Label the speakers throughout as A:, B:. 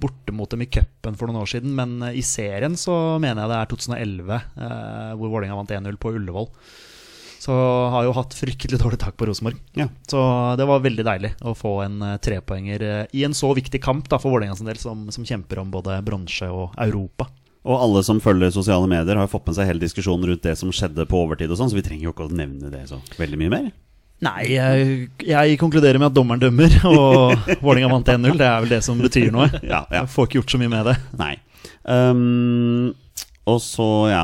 A: borte mot dem i cupen for noen år siden, men eh, i serien så mener jeg det er 2011, eh, hvor Vålerenga vant 1-0 på Ullevål. Så har jo hatt fryktelig dårlig tak på Rosenborg.
B: Ja.
A: Så det var veldig deilig å få en eh, trepoenger eh, i en så viktig kamp da, for Vålerenga sin del, som, som kjemper om både bronse og Europa.
B: Og alle som følger sosiale medier, har fått med seg hele diskusjonen rundt det som skjedde på overtid og sånn, så vi trenger jo ikke å nevne det så veldig mye mer.
A: Nei, jeg, jeg konkluderer med at dommeren dømmer, og Vålerenga vant 1-0. Det er vel det som betyr noe.
B: Ja, ja.
A: Jeg får ikke gjort så mye med det.
B: Nei. Ehm, og så ja,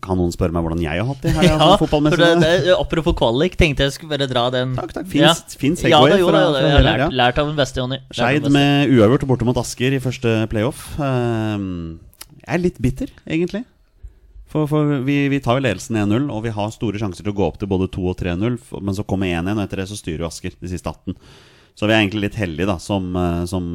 B: kan noen spørre meg hvordan jeg har hatt det her ja,
C: Ja, for
B: fotballmessig.
C: det, det, apropos kvalik, tenkte jeg skulle bare dra den.
B: Takk, takk. Fin- fin segway
C: ja, da, jo,
B: fra-
C: da,
B: fra
C: jo, da, jeg har
B: Høyre, ja.
C: lært, lært av den beste, Jonny. Lært av
B: Skeid
C: den beste.
B: med uavgjort borte mot Asker i første playoff. Ehm, jeg er litt bitter, egentlig. For, for vi, vi tar jo ledelsen 1-0, og vi har store sjanser til å gå opp til både 2 og 3-0. f- Men så kommer 1-1, og etter det så styrer jo Asker de siste 18. Så vi er egentlig litt heldige, da, som, eh, som,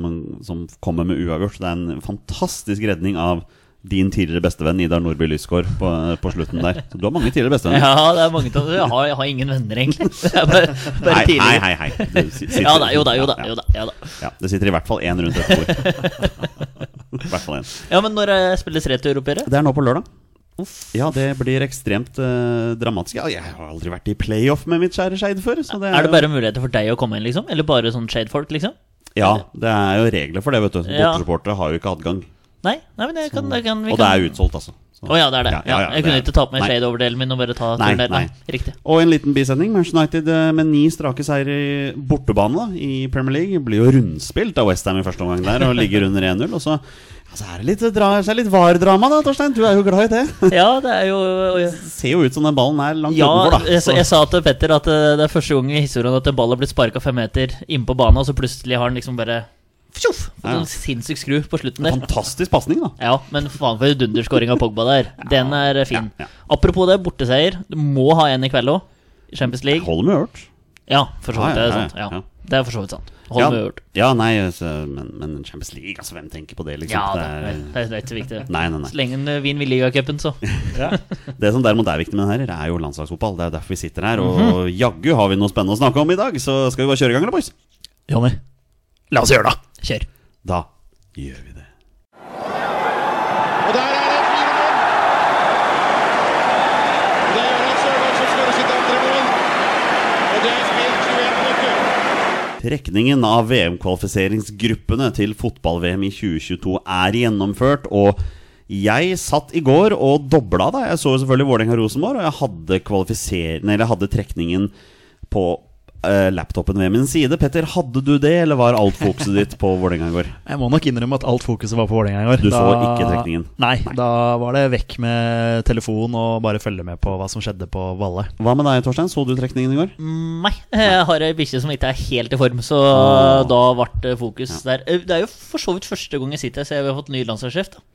B: som kommer med uavgjort. Det er en fantastisk redning av din tidligere bestevenn Idar Nordby Lysgård på, eh, på slutten der. Så du har mange tidligere bestevenner.
C: Ja, det er mange av Jeg har, jeg har ingen venner, egentlig. Det er bare, bare
B: Nei,
C: tidligere.
B: nei, hei, hei. Det si- sitter-
C: Ja da, jo da, jo da.
B: Ja, ja.
C: Jo da, ja, da.
B: Ja, det sitter i hvert fall én rundt dette bordet. I hvert fall en.
C: ja, men når eh, spilles returoppgjøret?
B: Det er nå på lørdag. Ja, det blir ekstremt eh, dramatisk. Ja, jeg har aldri vært i playoff med mitt kjære Skeid før. Så det
C: Er det bare muligheter for deg å komme inn, liksom? Eller bare sånn shade-folk, liksom?
B: Ja, det er jo regler for det, vet du.
C: Ja.
B: Bortesupportere har jo ikke adgang.
C: Nei, nei men jeg kan, jeg kan
B: Sånn.
C: vi
B: Og det
C: kan-
B: er utsolgt, altså. Så-
C: Å ja, det er det. Ja, jeg kunne
B: det er-
C: ikke ta på meg
B: Nei.
C: shade-overdelen min og bare ta
B: Nei,
C: turen der. Nei,
B: nei.
C: riktig.
B: Og en liten bisetning. Manchester United eh, med ni strake seire i bortebane da, i Premier League blir jo rundspilt av Westham i første omgang der og ligger under 1-0. Og så Altså, er det litt, dra, så er det litt VAR-drama da, Torstein? Du er jo glad i det.
C: Ja, det er jo
B: Det ser jo ut som den ballen er langt
C: ja,
B: utenfor, da.
C: jeg, sa- jeg sa til Petter at eh, det er første gang i historien at en ball har blitt sparka fem meter innpå banen, og så plutselig har den liksom bare Fjoff!
B: Ja.
C: Sånn sinnssyk skru på slutten der.
B: Fantastisk pasning, da.
C: Ja, men faen for dunderskåring av Pogba der. Den er eh, fin.
B: Ja, ja.
C: Apropos det, borteseier. Du må ha en i kveld òg. Champions League.
B: Holder med ørt.
C: Ja, for så
B: Ja, ja,
C: vidt. Det er
B: ja,
C: sant.
B: ja.
C: Ja, det er for så vidt sant. Hold med ørt.
B: Ja, nei, så, men, men Champions League, altså, hvem tenker på det, liksom?
C: Ja, det
B: det
C: er, det er ikke så viktig.
B: Nei, nei,
C: Så
B: nei.
C: lenge den vinner ligacupen, så.
B: Det som derimot er viktig med den her, er jo landslagsfotball. Det er jo derfor vi sitter her. Og
C: Mhm.
B: jaggu har vi noe spennende å snakke om i dag, så skal vi bare kjøre i gang, eller, boys?
A: Jonny, la oss gjøre det!
C: Kjør.
B: Da gjør vi det.
D: Og der er det fire mål! Og det er Jonas Sørgaard som skårer sitt andre mål. Og det er spilt 21 minutter.
B: Trekningen av VM-kvalifiseringsgruppene til fotball-VM i 2022 er gjennomført, og jeg satt i går og dobla, da. Jeg så jo selvfølgelig Vålerenga-Rosenborg, og jeg hadde, kvalifiser- nei, eller jeg hadde trekningen på eh, laptopen ved min side. Petter, hadde du det, eller var alt fokuset ditt på Vålerenga i går?
A: Jeg må nok innrømme at alt fokuset var på Vålerenga i går.
B: Du så ikke trekningen?
A: Nei, da var det vekk med telefon og bare følge med på hva som skjedde på Valle.
B: Hva med deg, Torstein? Så du trekningen i går?
C: Nei, jeg har ei bikkje som ikke er helt i form, så da ble det fokus der. Eh, Det er jo for så vidt første gang jeg sitter her, så jeg har fått ny landslagssjef. da.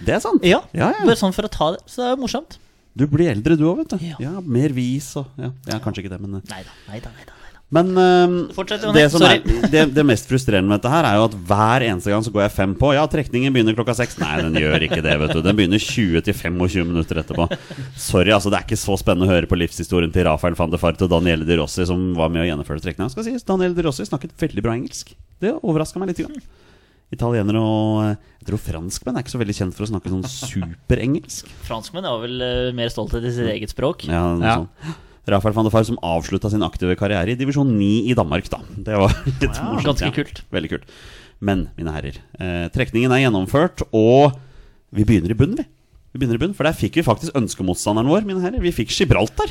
B: Det er sant.
C: Ja,
B: ja, ja.
C: Bare sånn for å ta det. Så det er jo morsomt.
B: Du blir eldre du òg, vet du.
C: Ja.
B: Ja. mer vis og ja. ja, kanskje ikke det, men eh.
C: Nei da, nei da, nei da. nei da.
B: Men ehm,
C: Fortsett, Jonny.
B: det, som er,
C: Sorry.
B: det, det mest frustrerende med dette her er jo at hver eneste gang så går jeg fem på. Ja, trekningen begynner klokka seks. Nei, den gjør ikke det, vet du. Den begynner 20 til 25 minutter etterpå. Sorry, altså. Det er ikke så spennende å høre på livshistorien til Rafael van de Farte og Daniele Di Rossi, som var med å gjennomføre trekninga. Skal sies, Daniele Di Rossi snakket veldig bra engelsk. Det overraska meg litt. Grann. Italienere og eh, jeg tror franskmenn er ikke så veldig kjent for å snakke sånn superengelsk.
C: Franskmenn har vel eh, mer stolthet i sitt
B: Mm.
C: eget språk.
B: Ja, noe
A: Ja.
B: sånt. Rafael van de Far som avslutta sin aktive karriere i divisjon 9 i Danmark, da. Det var litt morsomt.
C: ganske
B: ja.
C: kult.
B: Veldig kult. Men, mine herrer, eh, trekningen er gjennomført, og vi begynner i bunnen, vi. Vi begynner i bunnen, For der fikk vi faktisk ønskemotstanderen vår, mine herrer. Vi fikk Gibraltar.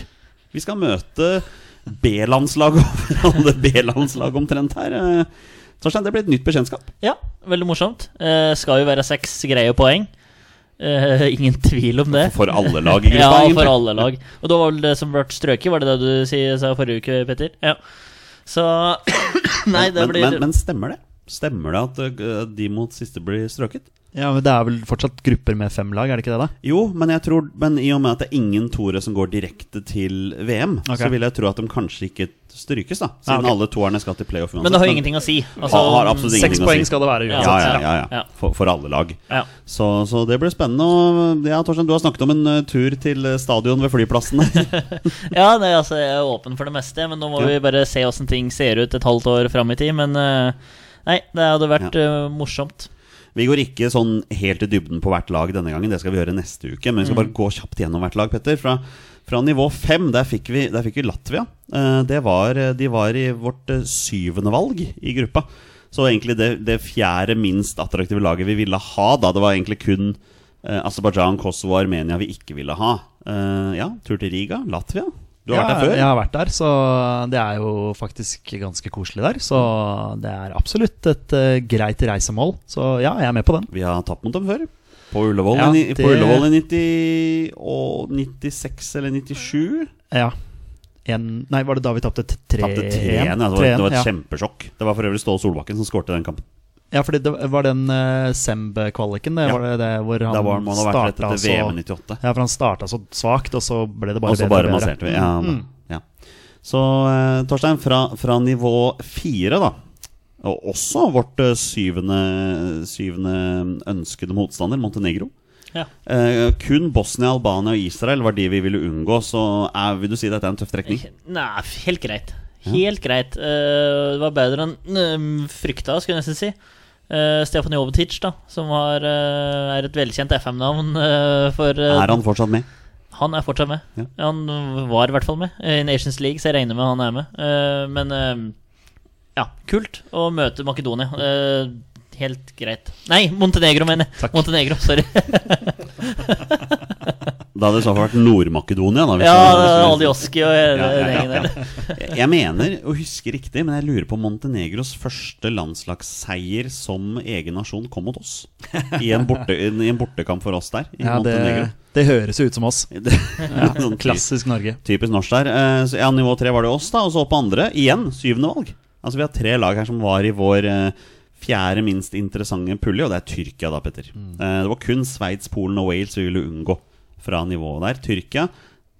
B: Vi skal møte B-landslag og alle B-landslag omtrent her. eh. Torstein, det blir et nytt bekjentskap.
C: Ja, veldig morsomt. Eh, skal jo være seks greie poeng. Eh, ingen tvil om det.
B: For alle lag i
C: Ja,
B: gruppa, egentlig.
C: for alle lag. Og da var vel det som ble strøket, var det det du si- sa forrige uke, Petter? Ja. Så Nei, det
B: men,
C: blir
B: men, men stemmer det? Stemmer det at eh, de mot siste blir strøket?
A: Ja, men Det er vel fortsatt grupper med fem lag, er det ikke det? da?
B: Jo, men, jeg tror, men i og med at det er ingen toere som går direkte til VM,
A: Ok.
B: så vil jeg tro at de kanskje ikke strykes, da. Siden
A: Ah, ok.
B: alle toerne skal til playoff uansett.
C: Men det har jo ingenting å si. Altså,
B: Har- har absolutt ingenting
A: Seks
B: å si.
A: poeng skal det være
B: ja,
A: uansett.
B: ja, ja, ja,
C: Ja.
B: For, for alle lag.
C: Ja.
B: Så, så det blir spennende. Og ja, Torstein, du har snakket om en eh, tur til eh, stadion ved flyplassen.
C: Ja, nei, altså, jeg er åpen for det meste, men nå må
B: Ja.
C: vi bare se åssen ting ser ut et halvt år fram i tid. Men eh, nei, det hadde vært eh, morsomt.
B: vi går ikke sånn helt i dybden på hvert lag denne gangen, det skal vi gjøre neste uke. Men vi
A: Mm.
B: skal bare gå kjapt gjennom hvert lag, Petter. Fra, fra nivå fem, der fikk vi, der fikk vi Latvia. Eh, Det var, de var i vårt eh, syvende valg i gruppa. Så egentlig det, det fjerde minst attraktive laget vi ville ha, da det var egentlig kun eh, Aserbajdsjan, Kosovo og Armenia vi ikke ville ha. Eh, ja, tur til Riga, Latvia. Du har vært
A: Ja,
B: der før?
A: Jeg har vært der, så det er jo faktisk ganske koselig der. Så det er absolutt et eh, greit reisemål. Så ja, jeg er med på den.
B: Vi har tapt mot dem før. På Ullevål,
A: Ja,
B: i, på
A: det-
B: Ullevål i 90, og 96 eller 97.
A: Ja. En, nei, var det da vi tapte t- 3-1?
B: Tapte 3-1. Ja, det var, det var et
A: ja.
B: kjempesjokk. Det var for øvrig Ståle Solbakken som skårte den kampen.
A: ja, fordi det var den uh, Semb-kvaliken, det
B: Ja.
A: var det, det hvor
B: Da
A: han altså-
B: var man har vært rett
A: starta
B: etter
A: så
B: VM i 98.
A: Ja, for han starta så svakt, og så ble det bare
B: Og så
A: bedre
B: bare
A: og bedre. Mm.
B: masserte vi. Ja, da. ja. Så eh, Torstein, fra, fra nivå fire, da. Og også vårt eh, syvende, syvende ønskede motstander, Montenegro.
C: Ja.
B: Eh, kun Bosnia, Albania og Israel var de vi ville unngå, så er, vil du si dette er en tøff trekning?
C: Nei, f- helt greit. Helt greit. Eh, det var bedre enn eh, frykta, skulle jeg nesten si. Eh, Stefan Jovetic, da, som har, eh, er et velkjent FM-navn eh, for eh,
B: Er han fortsatt med?
C: Han er fortsatt med.
B: Ja.
C: Han var i hvert fall med eh, i Nations League, så jeg regner med han er med. Eh, Men eh, ja, kult å møte Makedonia. Eh, Helt greit. Nei, Montenegro, mener jeg.
A: Takk.
C: Montenegro, sorry.
B: Da hadde det i så fall vært Nord-Makedonia. da, hvis
C: Ja,
B: det var-
C: Aljoski og
B: Ja,
C: hele den
B: ja,
C: gjengen
B: ja,
C: der.
B: ja. Jeg- Jeg mener å huske riktig, men jeg lurer på Montenegros første landslagsseier som egen nasjon kom mot oss. I en, borte, i en bortekamp for oss der. I
A: Ja, det,
B: Montenegro.
A: det høres jo ut som oss.
B: Ja, sånn klass-
A: Klassisk Norge.
B: Typisk norsk der. Eh, så Ja, nivå tre var det oss, da. Og så opp på andre. Igjen syvende valg. Altså Vi har tre lag her som var i vår eh, fjerde minst interessante pulje, og det er Tyrkia, da, Petter. Eh, det var kun Sveits, Polen og Wales vi ville unngå fra nivået der. Tyrkia,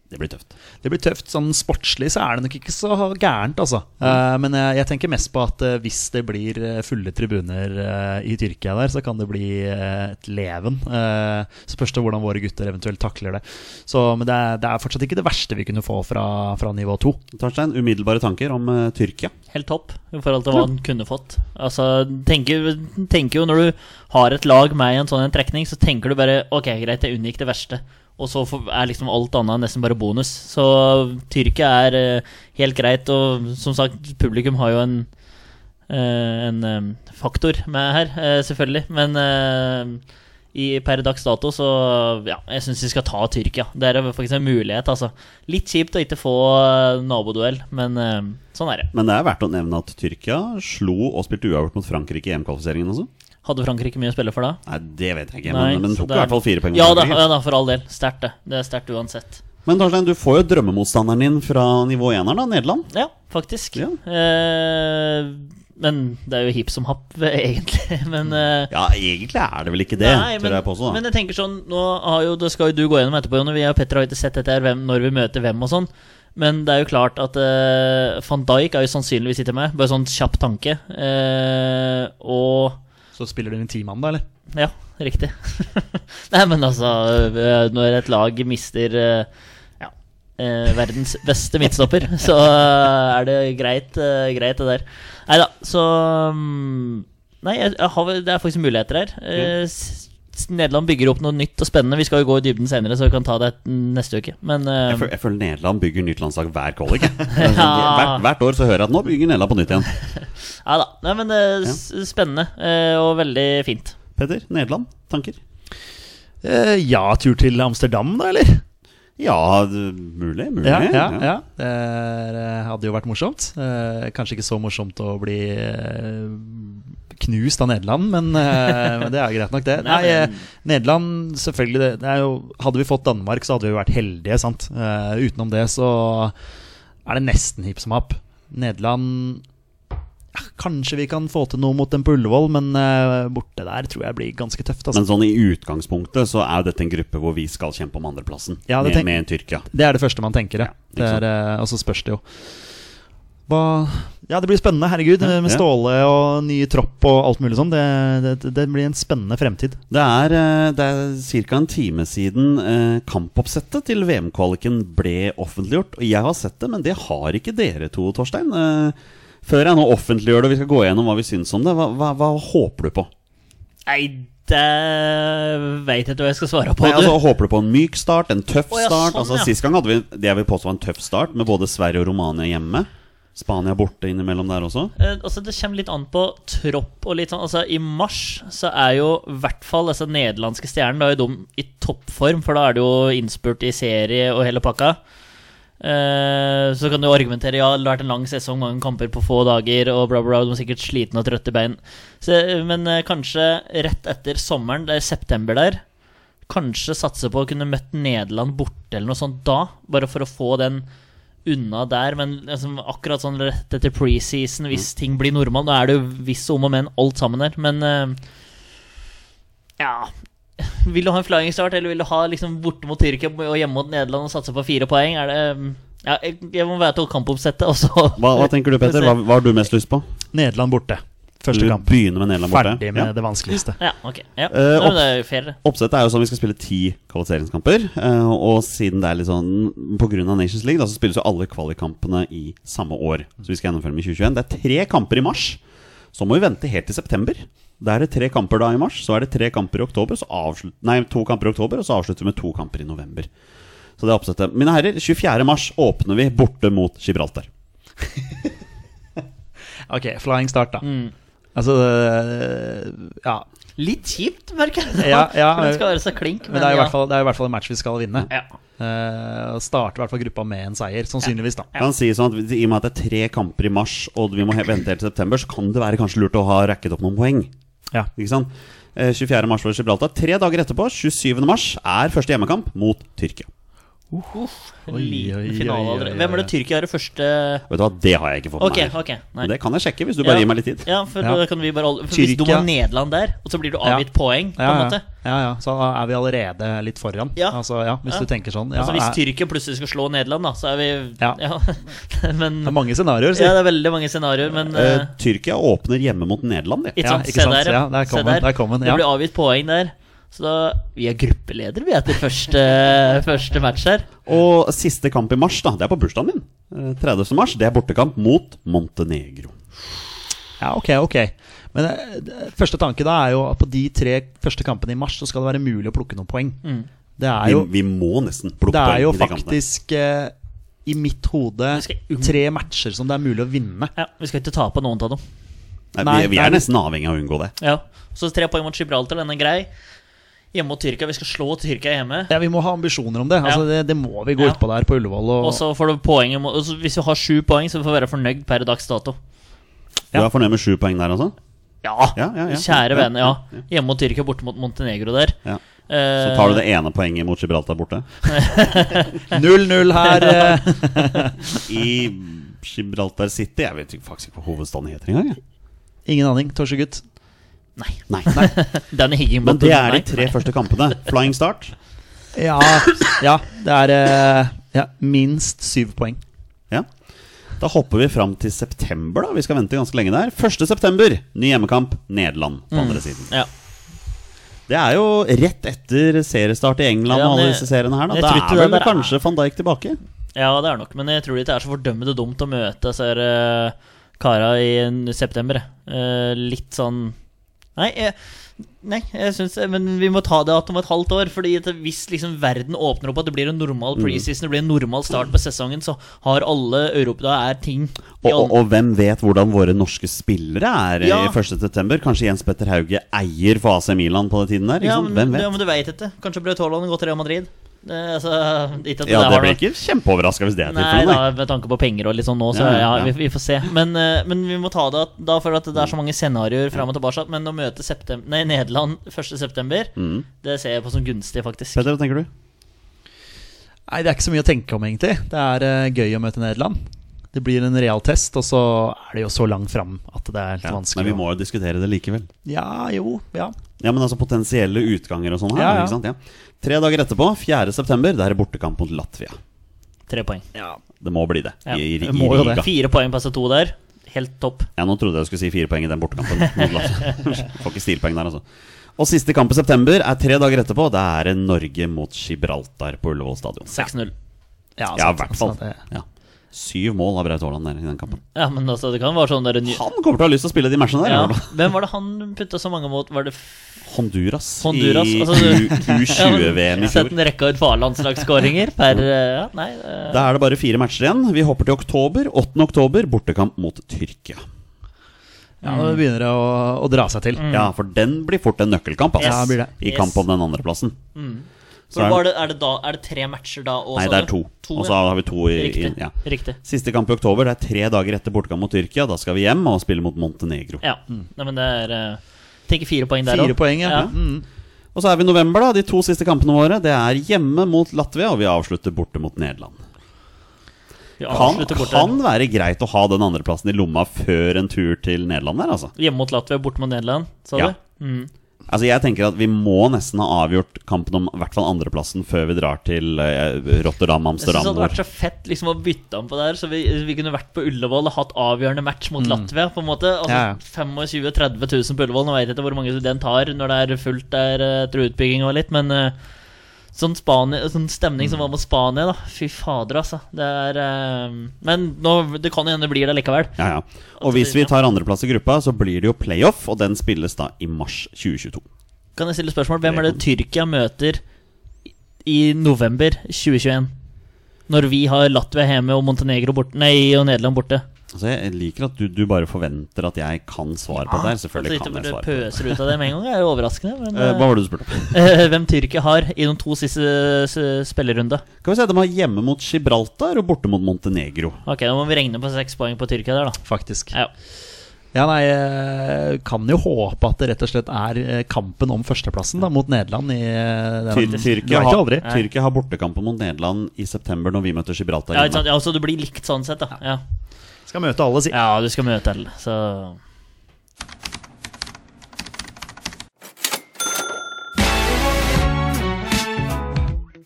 B: det blir tøft.
A: Det blir tøft. Sånn sportslig så er det nok ikke så gærent, altså. Eh, men jeg, jeg tenker mest på at eh, hvis det blir eh, fulle tribuner eh, i Tyrkia der, så kan det bli eh, et leven. Eh, så spørs det hvordan våre gutter eventuelt takler det. Så, men det er, det er fortsatt ikke det verste vi kunne få fra, fra nivå to.
B: Torstein, umiddelbare tanker om eh, Tyrkia?
C: Helt topp i forhold til hva han kunne fått. Altså, tenker, tenker jo Når du har et lag med i en sånn en trekning, så tenker du bare Ok, greit, jeg unngikk det verste. Og så får- er liksom alt annet nesten bare bonus. Så Tyrkia er eh, helt greit. Og som sagt, publikum har jo en eh, en eh, faktor med her, eh, selvfølgelig. Men eh, i, per dags dato så Ja, jeg syns vi skal ta Tyrkia. Det er faktisk en mulighet, altså. Litt kjipt å ikke få eh, naboduell, men eh, sånn er det.
B: Men det er verdt å nevne at Tyrkia slo og spilte uavgjort mot Frankrike i EM-kvalifiseringen også.
C: Hadde Frankrike mye å spille for da?
B: Nei, det vet jeg ikke,
C: Nei,
B: men, men
C: så
B: tok i
C: det er-
B: hvert fall fire poeng. mot
C: Ja da,
B: Frankrike.
C: ja da, for all del. Sterkt, det. Det er sterkt uansett.
B: Men Torstein, du får jo drømmemotstanderen din fra nivå eneren, da, Nederland.
C: Ja, faktisk.
B: Ja.
C: Eh, men det er jo hipp som happ, egentlig. Men eh,
B: Ja, egentlig er det vel ikke Mm. det,
C: Nei,
B: tør jeg påstå.
C: men
B: da.
C: jeg tenker sånn Nå har jo, det skal jo du gå gjennom etterpå, Jonny. Vi og Petter har jo ikke sett dette her, hvem, når vi møter hvem og sånn. Men det er jo klart at eh, van Dijk er jo sannsynligvis ikke med. Bare sånn kjapp tanke. Eh, og
A: Så spiller dere en timann, da, eller?
C: Ja, riktig. Nei, men altså eh, Når et lag mister eh, ja, eh, verdens beste midtstopper, så eh, er det greit, eh, greit det der. Nei da, så mm, Nei, jeg, jeg har, vel- det er faktisk muligheter her. Eh, s- s- Nederland bygger opp noe nytt og spennende. Vi skal jo gå i dybden senere, så vi kan ta det neste uke. Men eh,
B: Jeg, føl, jeg føler Nederland bygger nytt landslag hver kvalik. jeg.
C: Ja.
B: hvert, hvert år så hører jeg at nå bygger Nederland på nytt igjen.
C: ja da. Nei, men eh, s- spennende eh, og veldig fint.
B: Petter, Nederland, tanker?
A: Eh, ja, tur til Amsterdam, da, eller?
B: Ja, det- mulig, mulig.
A: Ja, ja,
B: ja.
A: ja. Det er, eh, hadde jo vært morsomt. Eh, Kanskje ikke så morsomt å bli eh, knust av Nederland, men, eh, men det er greit nok, det. Nei, eh, Nederland, selvfølgelig. Det, det er jo, hadde vi fått Danmark, så hadde vi jo vært heldige, sant. Eh, utenom det så er det nesten hipp som happ. Nederland ja, Kanskje vi kan få til noe mot dem på Ullevål, men eh, borte der tror jeg blir ganske tøft. Altså.
B: Men sånn i utgangspunktet så er jo dette en gruppe hvor vi skal kjempe om andreplassen
A: Ja, det
B: med,
A: tenk-
B: med Tyrkia.
A: Det er det første man tenker, ja.
B: Ja, ikke
A: Det er, eh, og så spørs det jo. Hva Ja, det blir spennende, herregud.
B: Ja,
A: Med
B: ja.
A: Ståle og ny tropp og alt mulig sånn. Det, det, det blir en spennende fremtid.
B: Det er, eh, det er ca. en time siden eh, kampoppsettet til VM-kvaliken ble offentliggjort. Og jeg har sett det, men det har ikke dere to, Torstein. Eh, før jeg nå offentliggjør det og vi skal gå gjennom hva vi syns om det, hva, hva, hva håper du på?
C: Nei, det veit jeg ikke hva jeg skal svare på.
B: Nei,
C: du.
B: altså, håper du på en myk start, en tøff
C: Å, ja,
B: start?
C: sånn,
B: altså,
C: ja.
B: Sist gang hadde vi det jeg vil påstå var en tøff start, med både Sverige og Romania hjemme. Spania borte innimellom der også.
C: Eh, altså Det kommer litt an på tropp og litt sånn. Altså I mars så er jo i hvert fall altså, nederlandske stjernen Da er jo de i toppform, for da er det jo innspurt i serie og hele pakka. Eh, så kan du argumentere Ja, det har vært en lang sesong, mange kamper på få dager, og bla, bla, bla. De er sikkert slitne og trøtte i bein. Så, men eh, kanskje rett etter sommeren, det er september der, kanskje satse på å kunne møtt Nederland borte eller noe sånt da, bare for å få den unna der, men liksom akkurat sånn rett etter preseason,
B: Mm.
C: hvis ting blir normalt. Nå er det jo hvis og om og men alt sammen der, men eh, Ja. Vil du ha en flying start, eller vil du ha liksom borte mot Tyrkia og hjemme mot Nederland og satse på fire poeng? Er det eh, Ja, jeg, jeg må være til kampoppsettet, og så
B: Hva, hva tenker du, Petter? Hva, hva har du mest lyst på?
A: Nederland borte.
B: Du
A: Første kamp.
B: begynner med Nederland borte.
A: Ferdig
B: Ja.
A: med det vanskeligste.
C: Ja, ok. Ja.
B: Eh,
C: Nei, men det er jo fair. det.
B: Oppsettet er jo sånn vi skal spille ti kvalifiseringskamper. eh, Og siden det er litt sånn pga. Nations League, da, så spilles jo alle kvalikkampene i samme år. Så vi skal gjennomføre dem i 2021. Det er tre kamper i mars. Så må vi vente helt til september. Da er det tre kamper da i mars, så er det tre kamper i oktober, så avslut, nei, to kamper i oktober, og så avslutter vi med to kamper i november. Så det er oppsettet. Mine herrer, 24. mars åpner vi borte mot Gibraltar.
A: Ok, flying start, da. Altså det- Ja.
C: Litt kjipt, merker jeg.
A: Ja, ja.
C: For Den skal være så klink.
A: Men det er, jo i
C: ja.
A: hvert fall, det er i hvert fall en match vi skal vinne.
C: ja.
A: Eh, og starte i hvert fall gruppa med en seier, sannsynligvis, da.
B: Kan si sånn at I og med at det er tre kamper i mars, og vi må he- vente helt til september, så kan det være kanskje lurt å ha racket opp noen poeng.
A: Ja.
B: Ikke sant? Eh, 24. mars var det Gibraltar. Tre dager etterpå, 27. mars, er første hjemmekamp mot Tyrkia.
C: Uff, en
A: Oi, oi,
C: liten
A: oi,
C: finale
A: oi,
C: allerede.
A: oi.
C: Hvem er det Tyrkia er det første
B: Vet du hva, det har jeg ikke fått
C: Ok,
B: med meg.
C: ok. Nei.
B: Men det kan jeg sjekke, hvis du bare
C: Ja.
B: gir meg litt tid.
C: Ja, for
A: Ja.
C: da kan vi bare holde for Hvis du
A: Tyrkia.
C: var Nederland der, og så blir du avgitt poeng, på
A: Ja,
C: en
A: ja.
C: måte
A: ja, ja. Så da er vi allerede litt foran.
C: Ja.
A: Altså, ja, hvis
C: Ja.
A: du tenker sånn. Ja,
C: Altså Hvis
A: er,
C: Tyrkia plutselig skulle slå Nederland, da, så er vi Ja.
A: Ja.
C: men
A: det er mange scenarioer,
C: Ja,
A: si.
C: det er veldig mange scenarioer, men
B: Eh,
C: eh,
B: Tyrkia åpner hjemme mot Nederland, de.
C: ikke
A: ja,
C: sant,
A: ikke
C: se
A: sant,
C: der,
A: ja, der kom
C: Se
A: den, der kom den, ja.
C: Det blir avgitt poeng der. Så da Vi er gruppeleder, vi, etter første, første match her.
B: Og siste kamp i mars, da, det er på bursdagen din. Eh, 30. mars, det er bortekamp mot Montenegro.
A: Ja, ok, ok. Men eh, det- første tanke da er jo at på de tre første kampene i mars så skal det være mulig å plukke noen poeng.
C: Mm.
A: Det er
B: Vi,
A: jo,
B: vi må nesten plukke
A: det er
B: poeng
A: jo
B: i de kampene.
A: faktisk eh, i mitt hode
C: skal unngå-
A: tre matcher som det er mulig å vinne.
C: Ja, Vi skal ikke tape noen av dem.
B: Nei,
A: Nei,
B: vi, vi
A: det er-
B: er nesten avhengig av å unngå det.
C: Ja, Så tre poeng mot Gibraltar, den er grei. Hjemme mot Tyrkia. Vi skal slå Tyrkia hjemme.
A: Ja, Vi må ha ambisjoner om det. Altså, det, det må vi gå
C: Ja.
A: utpå der på Ullevål. Og,
C: Og så får du poenget mot- og så Hvis vi har sju poeng, så får vi være fornøyd per dags dato.
B: Du
A: Ja.
B: er fornøyd med sju poeng der, altså?
C: Ja,
B: Ja, ja, ja.
C: Kjære
B: Ja,
C: vene, ja. Hjemme mot Tyrkia, borte mot Montenegro der.
B: Ja.
C: Eh,
B: Så tar du det ene poenget mot Gibraltar borte.
A: 0-0 her. eh,
B: I Gibraltar City Jeg vet ikke- faktisk ikke hva hovedstaden heter engang. jeg.
A: Ingen aning, Torsegutt.
C: Nei.
B: Nei.
C: Danny
B: Men
C: Higginbottom.
B: det er de
C: nei.
B: tre første kampene. Flying start.
A: Ja, ja, det er eh, ja, minst syv poeng.
B: Ja. Da hopper vi fram til september, da. Vi skal vente ganske lenge der. 1. september, ny hjemmekamp. Nederland på andre siden.
C: Ja.
B: Det er jo rett etter seriestart i England
C: Ja,
B: og
C: men
B: alle
C: jeg-
B: disse seriene her. Da,
C: jeg
B: da
C: tror ikke
B: er vel
C: det der er-
B: kanskje van Dijk tilbake.
C: ja, det er nok. Men jeg tror det ikke er så fordømmende dumt å møte disse her, eh, kara i en- september. jeg. Eh, litt sånn Nei, jeg, nei, jeg syns Men vi må ta det at om et halvt år. Fordi at hvis liksom verden åpner opp, at det blir en normal
B: Mm.
C: preseason, det blir en normal start på sesongen, så har alle Europa Da er ting
B: Og,
C: i
B: og,
C: andre-
B: og hvem vet hvordan våre norske spillere er
C: Ja.
B: i 1. september? Kanskje Jens Petter Hauge eier for AC Milan på den tiden der? Ikke
C: ja,
B: sant?
C: men,
B: liksom, hvem vet?
C: ja, men du veit ikke. Kanskje Braut Haaland går til Real Madrid. Det, altså, ikke at
B: Ja,
C: der
B: det
C: har
B: ble
C: noe-
B: ikke kjempeoverraska hvis det er
C: Nei,
B: tilfellet.
C: da, med tanke på penger og litt sånn nå, så
B: Ja,
C: ja,
B: ja,
C: vi,
B: ja.
C: vi får se. Men, eh, men vi må ta det at- da, for at det er så mange scenarioer fram og tilbake. Men å møte septem- nei, Nederland 1.9.,
B: Mm.
C: det ser jeg på som gunstig, faktisk.
B: Petter, hva tenker du?
A: Nei, Det er ikke så mye å tenke om, egentlig. Det er eh, gøy å møte Nederland. Det blir en real test, og så er det jo så langt fram at det er litt
B: Ja,
A: vanskelig.
B: men vi
A: å-
B: må jo diskutere det likevel.
A: Ja, jo, ja.
B: Ja, men altså potensielle utganger og sånn her.
A: Ja, ja.
B: Ikke sant? Ja. Tre dager etterpå, 4. september, det er det bortekamp mot Latvia.
C: Tre poeng.
B: Det må bli det.
C: Ja,
B: I, i,
A: det
B: i
A: må jo det.
B: Riga.
C: Fire poeng passer to der. Helt topp.
B: Ja, nå trodde jeg du skulle si fire poeng i den bortekampen. mot Latvia. Får ikke stilpoeng der, altså. Og siste kamp i september er tre dager etterpå. Da er det Norge mot Gibraltar på Ullevål stadion.
C: 6-0.
A: Ja,
B: Ja, i
A: sant,
B: hvert fall.
A: sant, det-
B: Ja. Syv mål av Braut Haaland der i den kampen.
C: Ja, men altså, det kan være sånn der ny...
B: Han kommer til å ha lyst til å spille de matchene der.
C: ja.
B: eller?
C: Hvem var det han putta så mange mot? Var det
B: Honduras,
C: Honduras,
B: i
C: altså, du-
B: U20-VM i
C: Sett
B: fjor.
C: en rekke ut farlandslagsskåringer per eh, Ja, nei. eh,
B: Da er det bare fire matcher igjen. Vi hopper til oktober. 8. oktober, bortekamp mot Tyrkia.
A: Ja, Nå begynner det å, å dra seg til.
B: Ja, for den blir fort en nøkkelkamp, altså.
A: Mm. Ja, blir det.
B: I kamp om den andreplassen. Så
C: For
B: er
C: var
B: det,
C: det, er, det da, er det tre matcher da? Og
B: nei,
C: så-
B: det er to. Og så
C: ja.
B: har vi to i, i
C: Riktig.
B: ja.
C: Riktig.
B: Siste kamp i oktober. Det er tre dager etter bortekamp mot Tyrkia. Da skal vi hjem og spille mot Montenegro.
C: Ja. Nei, men det er eh, Tenker fire poeng der
A: Fire
C: også.
A: poeng, ja.
C: Ja.
A: Mm.
B: Og så er vi i november, da. De to siste kampene våre. Det er hjemme mot Latvia, og vi avslutter borte mot Nederland.
C: Vi
B: Kan,
C: avslutter borte.
B: kan være greit å ha den andreplassen i lomma før en tur til Nederland der, altså.
C: Hjemme mot Latvia, borte mot Nederland, sa
B: Ja.
C: du? Mm.
B: Altså Jeg tenker at vi må nesten ha avgjort kampen om i hvert fall andreplassen før vi drar til eh, Rotterdam,
C: Jeg synes det
B: Amsterdam.
C: hadde vært
B: hvor-
C: så fett liksom å bytte om på det her, så vi, vi kunne vært på Ullevål og hatt avgjørende match mot Latvia, på en måte.
A: Ja, ja.
C: Altså 25 000-30 000 på Ullevål, nå veit jeg ikke hvor mange den tar når det er fullt der eh, etter utbygging og litt, men eh, Sånn, Spania, sånn stemning som var mot Spania, da. Fy fader, altså. Det er eh, Men nå, det kan jo hende det blir det likevel.
B: Ja, ja. Og hvis vi tar andreplass i gruppa, så blir det jo playoff, og den spilles da i mars 2022.
C: Kan jeg stille spørsmål? Hvem er det Tyrkia møter i november 2021? Når vi har Latvia hjemme og Montenegro borte Nei, og Nederland borte.
B: Så jeg liker at du, du bare forventer at jeg kan svare på det her.
C: At du
B: Selvfølgelig
C: ikke
B: kan jeg
C: bare
B: svare på det.
C: pøser ut av det med en gang, er jo overraskende. Men
B: Eh, hva var det du spurte om?
C: eh, hvem Tyrkia har i de to siste s- spillerrunde.
B: Skal vi se, De har hjemme mot Gibraltar og borte mot Montenegro.
C: Ok, Da må vi regne på seks poeng på Tyrkia der, da.
A: faktisk.
C: Ja.
A: Ja, nei, eh, kan jo håpe at det rett og slett er eh, kampen om førsteplassen da, mot Nederland i eh, den-
B: Ty
A: Du
B: Tyrkia,
A: vet jo
B: har,
A: aldri.
B: Tyrkia har bortekampen mot Nederland i september når vi møter Gibraltar.
C: Ja,
B: hjemme.
C: ikke sant? ja, så du blir likt sånn sett, da. Ja,
A: Skal møte alle, si.
C: ja du skal møte alle, så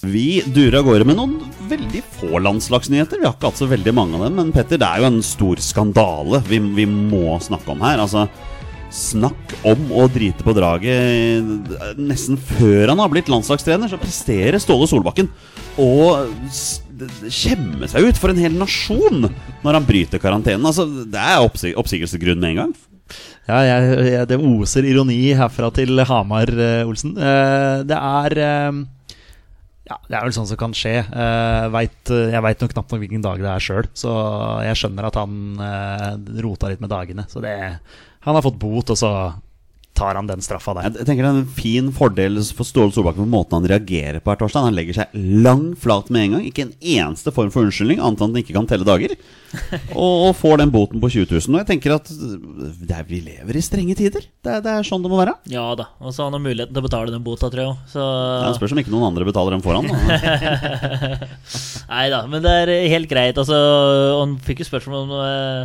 B: Vi durer av gårde med noen veldig få landslagsnyheter. Vi har ikke hatt så veldig mange av dem, men Petter, det er jo en stor skandale vi, vi må snakke om her. Altså, snakk om å drite på draget. Nesten før han har blitt landslagstrener, så presterer Ståle Solbakken å s- d- d- skjemme seg ut for en hel nasjon når han bryter karantenen. Altså, det er oppsi oppsigelsesgrunn med en gang.
A: Ja, jeg, jeg, det oser ironi herfra til Hamar, eh, Olsen. Eh, det er eh, ja, Det er vel sånn som kan skje. Eh, vet, jeg veit nok knapt nok hvilken dag det er sjøl, så jeg skjønner at han eh, rota litt med dagene. Så det Han har fått bot, og så tar han den straffa der.
B: Jeg jeg tenker Det er en fin fordel for Ståle Solbakken for måten han reagerer på her torsdag. Han legger seg lang flat med en gang. Ikke en eneste form for unnskyldning, annet enn at han ikke kan telle dager. Og, og får den boten på 20 000. Og jeg tenker at det er, vi lever i strenge tider. Det er, det er sånn det må være.
C: Ja da. Og så har han jo muligheten til å betale den bota, tror jeg òg. Så
B: Jeg spørs om ikke noen andre betaler dem foran. da.
C: Nei da, men det er helt greit. Altså, og han fikk jo spørsmål om eh,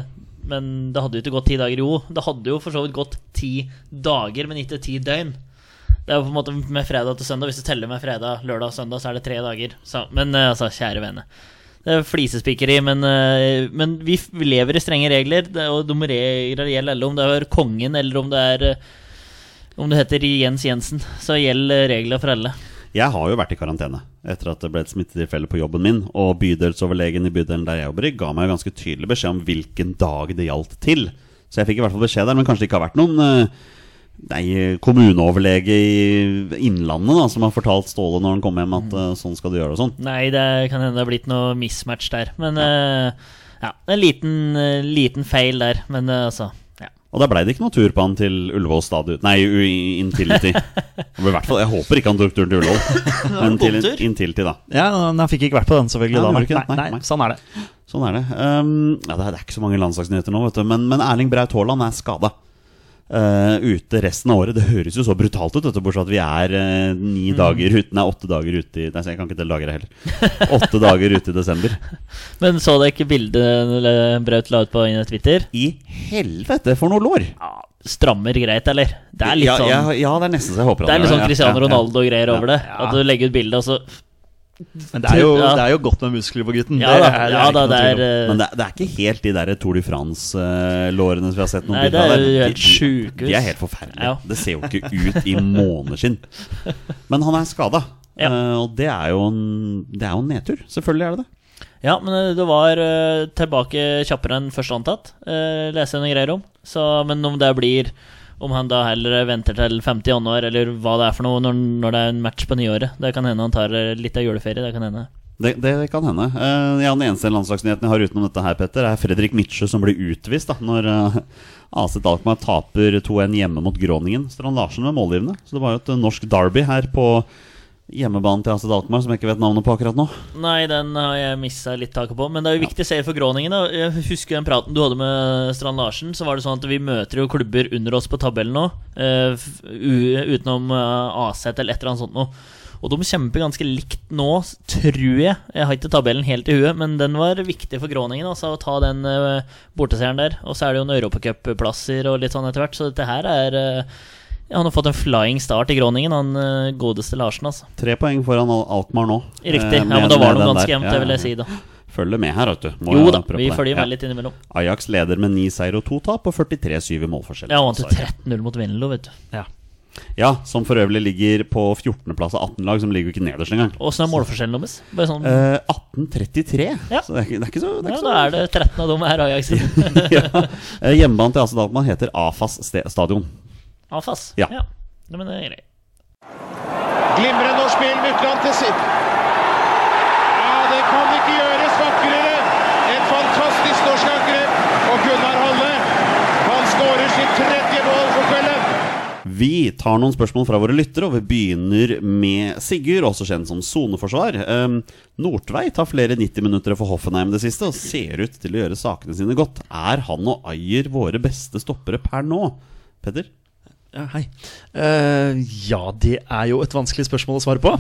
C: Men det hadde jo ikke gått ti dager. Jo, det hadde jo for så vidt gått ti dager, men ikke ti døgn. Det er jo på en måte med fredag til søndag. Hvis du teller med fredag, lørdag og søndag, så er det tre dager. Så, men eh, altså, kjære vene. Det er flisespikkeri, men, eh, men vi f- vi lever i strenge regler. Det, og de regler gjelder alle, om det er kongen eller om det er eh, Om du heter Jens Jensen, så gjelder regler for alle.
B: Jeg har jo vært i karantene etter at det ble et smittetilfelle på jobben min. Og bydelsoverlegen i bydelen der jeg jobber i, ga meg jo ganske tydelig beskjed om hvilken dag det gjaldt til. Så jeg fikk i hvert fall beskjed der, men kanskje det ikke har vært noen eh, Nei, kommuneoverlege i Innlandet da, som har fortalt Ståle når han kom hjem at eh, sånn skal du gjøre og sånn.
C: Nei, det kan hende det har blitt noe mismatch der. Men eh, ja, en liten, eh, liten feil der. Men eh, altså ja.
B: Og der blei det ikke noe tur på han til Ullevål stadion Nei, u- i- Intility. Det ble i hvert fall, jeg håper ikke han tok turen til Ullevål, men til
C: bomtur.
B: Intility, da.
A: Ja, men Han fikk ikke vært på den, selvfølgelig.
B: Ja,
A: da,
B: han
A: nei.
B: gjorde ikke det.
A: Nei,
B: Nei,
A: nei,
B: nei.
A: sånn er det.
B: Sånn er det. Um, ja, det, er, det er ikke så mange landslagsnyheter nå, vet du. Men, men Erling Braut Haaland er skada. eh, ute resten av året. Det høres jo så brutalt ut, dette, bortsett fra at vi er eh,
C: Mm.
B: ni dager ute Nei, åtte dager ute i Nei, så jeg kan ikke telle dager heller. Åtte dager ute i desember.
C: Men så dere ikke bildet eller Braut la ut på Twitter?
B: I helvete, for noe lår!
C: Strammer greit, eller? Det er litt
B: ja,
C: sånn
B: ja, ja, det er nesten så jeg håper
C: Det er litt sånn
B: Ja,
C: Cristiano
B: ja, ja.
C: Ronaldo-greier over det.
A: Ja.
C: At du legger ut bilde, og så
A: Men det er jo,
C: Ja.
A: det er jo godt med muskler på gutten.
C: Ja
A: det
C: da,
A: er, det er
C: ja,
A: ikke
C: da
A: noe
C: det
A: tvil om.
C: er eh,
B: Men det, det er ikke helt de der Tour de France-lårene som vi har sett noen
C: Nei, det
B: bilder av.
C: er jo
B: der.
C: helt
B: De- de-
C: sjukehus.
B: De er helt forferdelige.
C: Ja.
B: Det ser jo ikke ut i måneskinn. Men han er skada,
C: Ja.
B: og det er, jo en, det er jo en nedtur. Selvfølgelig er det det.
C: Ja, men eh, det var eh, tilbake kjappere enn først antatt. Uh, leser jeg noen greier om. Så, men om det blir Om han da heller venter til 50 januar, eller hva det er for noe når, når det er en match på nyåret. Det kan hende han tar eh, litt av juleferie. Det kan hende.
B: Det, det kan hende. Eh, ja, den eneste landslagsnyheten jeg har utenom dette, her, Petter, er Fredrik Mitsjø som blir utvist da, når uh, AC Dalkmaar taper 2-1 hjemme mot Groningen. Strand Larsen var målgivende. Så det var jo et eh, norsk derby her på hjemmebanen til AC Dalkmaar som jeg ikke vet navnet på akkurat nå.
C: Nei, den har jeg missa litt taket på. Men det er jo viktig seier for Groningen. Da. Jeg husker den praten du hadde med Strand Larsen. Så var det sånn at vi møter jo klubber under oss på tabellen nå. eh, f- u- utenom eh, Aset eller et eller annet sånt noe. Og de kjemper ganske likt nå, s- tror jeg. Jeg har ikke tabellen helt i huet, men den var viktig for Groningen, altså, å ta den eh, borteseieren der. Og så er det jo noen europacupplasser og litt sånn etter hvert, så dette her er eh, ja, Han har fått en flying start i Groningen, han eh, godeste Larsen, altså.
B: Tre poeng foran Al- Alkmaar nå.
C: Riktig.
B: Eh,
C: Ja,
B: med-
C: men da
B: med
C: var de
B: den
C: ganske
B: der.
C: jevnt,
B: Ja,
C: det vil
B: ja.
C: jeg si, da.
B: Følger med her, vet du. Må
C: Jo
B: jeg
C: da,
B: prøve
C: vi
B: på det.
C: følger med
B: Ja.
C: litt innimellom.
B: Ajax leder med ni seier og to tap og 43-7 i målforskjell.
C: Ja, han vant jo
B: Sorry.
C: 13-0 mot Venlo, vet du.
A: Ja.
B: Ja, som for øvrig ligger på 14.-plass av 18 lag, som ligger jo ikke nederst engang.
C: Åssen er målforskjellen deres? Bare sånn
B: Eh, 18-33,
C: Ja.
B: så det er, ikke- det er ikke så, det er
C: Ja,
B: ikke
C: da er det 13 av dem er Ajax.
B: så. ja. Eh, Hjemmebanen til AC Dalkman heter AFAS ste- stadion.
C: Afas.
B: Ja.
C: ja. Nei, Men det er greit.
D: Glimrende norsk spill med Utland til sitt. Ja, det kan ikke gjøres vakrere. Et fantastisk norsk angrep. Og
B: Vi tar noen spørsmål fra våre lyttere, og vi begynner med Sigurd, også kjent som soneforsvar. Um, Nordtveit har flere 90-minuttere for Hoffenheim det siste, og ser ut til å gjøre sakene sine godt. Er han og Ayer våre beste stoppere per nå? Petter?
A: Ja, hei. Eh, ja, det er jo et vanskelig spørsmål å svare på.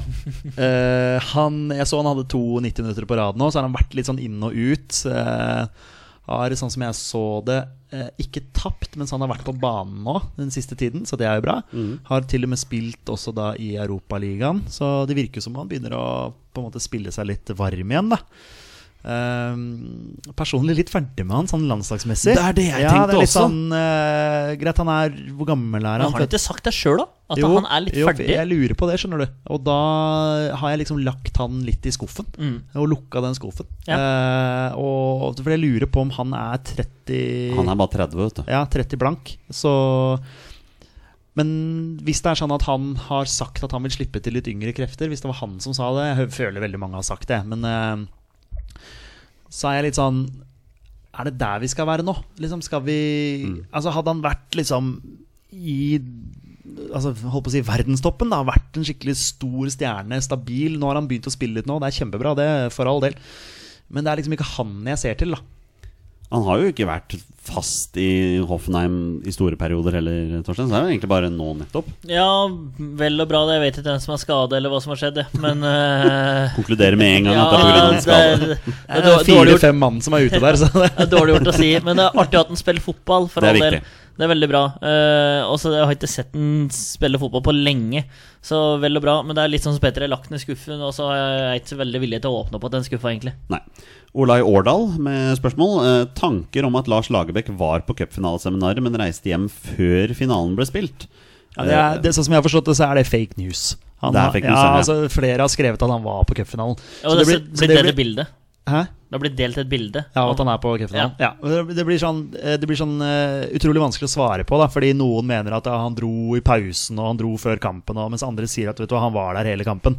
A: Eh, han, jeg så han hadde to 90 minutter på rad nå, så har han vært litt sånn inn og ut. Eh, har, sånn som jeg så det, eh, ikke tapt mens han har vært på banen nå den siste tiden, så det er jo bra.
B: Mm.
A: Har til og med spilt også da i Europaligaen, så det virker som han begynner å på en måte spille seg litt varm igjen, da. Eh, personlig litt ferdig med han sånn landslagsmessig.
B: Det er det jeg
A: ja, det
B: tenkte
A: er litt
B: også.
A: Sånn, eh, greit, han er Hvor gammel er han?
C: Men har du ikke sagt det sjøl, da? At
A: Jo,
C: han er litt
A: jo,
C: ferdig?
A: Jeg lurer på det, skjønner du. Og da har jeg liksom lagt han litt i skuffen.
C: Mm.
A: Og lukka den skuffen. Eh, og, for jeg lurer på om han er 30
B: Han er bare 30, vet du.
A: Ja, 30 blank. Så men hvis det er sånn at han har sagt at han vil slippe til litt yngre krefter Hvis det var han som sa det Jeg hø- føler veldig mange har sagt det. Men eh, så er jeg litt sånn Er det der vi skal være nå? Liksom skal vi Altså Hadde han vært liksom i Altså holdt på å si verdenstoppen, da vært en skikkelig stor stjerne, stabil Nå har han begynt å spille litt nå, det er kjempebra, det, for all del. Men det er liksom ikke han jeg ser til, da.
B: Han har jo ikke vært fast i Hoffenheim i store perioder heller, Torstein. Så det er jo egentlig bare nå nettopp.
C: Ja, vel og bra, det. Jeg vet ikke hvem som er skadet, eller hva som har skjedd, jeg. men eh,
B: Konkluderer med en gang at det er pga.
C: ja,
B: en skade.
C: det er-
A: Det
C: det er
A: er
C: dårlig gjort-
A: fire-fem mann som er ute der, så det
C: det er dårlig gjort å si, men det er artig at han spiller fotball. For
B: Det er
C: all del.
B: viktig.
C: Det er veldig bra. Eh, også, jeg har ikke sett han spille fotball på lenge, så vel og bra. Men det er litt sånn som Petter har lagt ned skuffen, og så er jeg ikke veldig villig til å åpne opp igjen den skuffa, egentlig.
B: Nei. Olai Årdal med spørsmål. Eh, tanker om at Lars Lagerbäck var på cupfinaleseminaret, men reiste hjem før finalen ble spilt. Eh,
A: Ja, det er, det, sånn som jeg har forstått det, så er det fake news. Han,
B: Det er
A: har-
B: fake news,
A: ja,
B: ja.
A: altså, flere har skrevet at han var på cupfinalen.
C: Og
A: Så
C: det,
A: det
C: blir,
A: blir- så
C: blir
A: det
C: delt et
A: blir-
C: bilde.
A: Hæ?
C: Det blir delt et bilde.
A: Ja, at han er på cupfinalen. Ja. og Det blir sånn, eh, det blir sånn eh, utrolig vanskelig å svare på, da, fordi noen mener at ja, han dro i pausen og han dro før kampen, og, mens andre sier at vet du, hva, han var der hele kampen.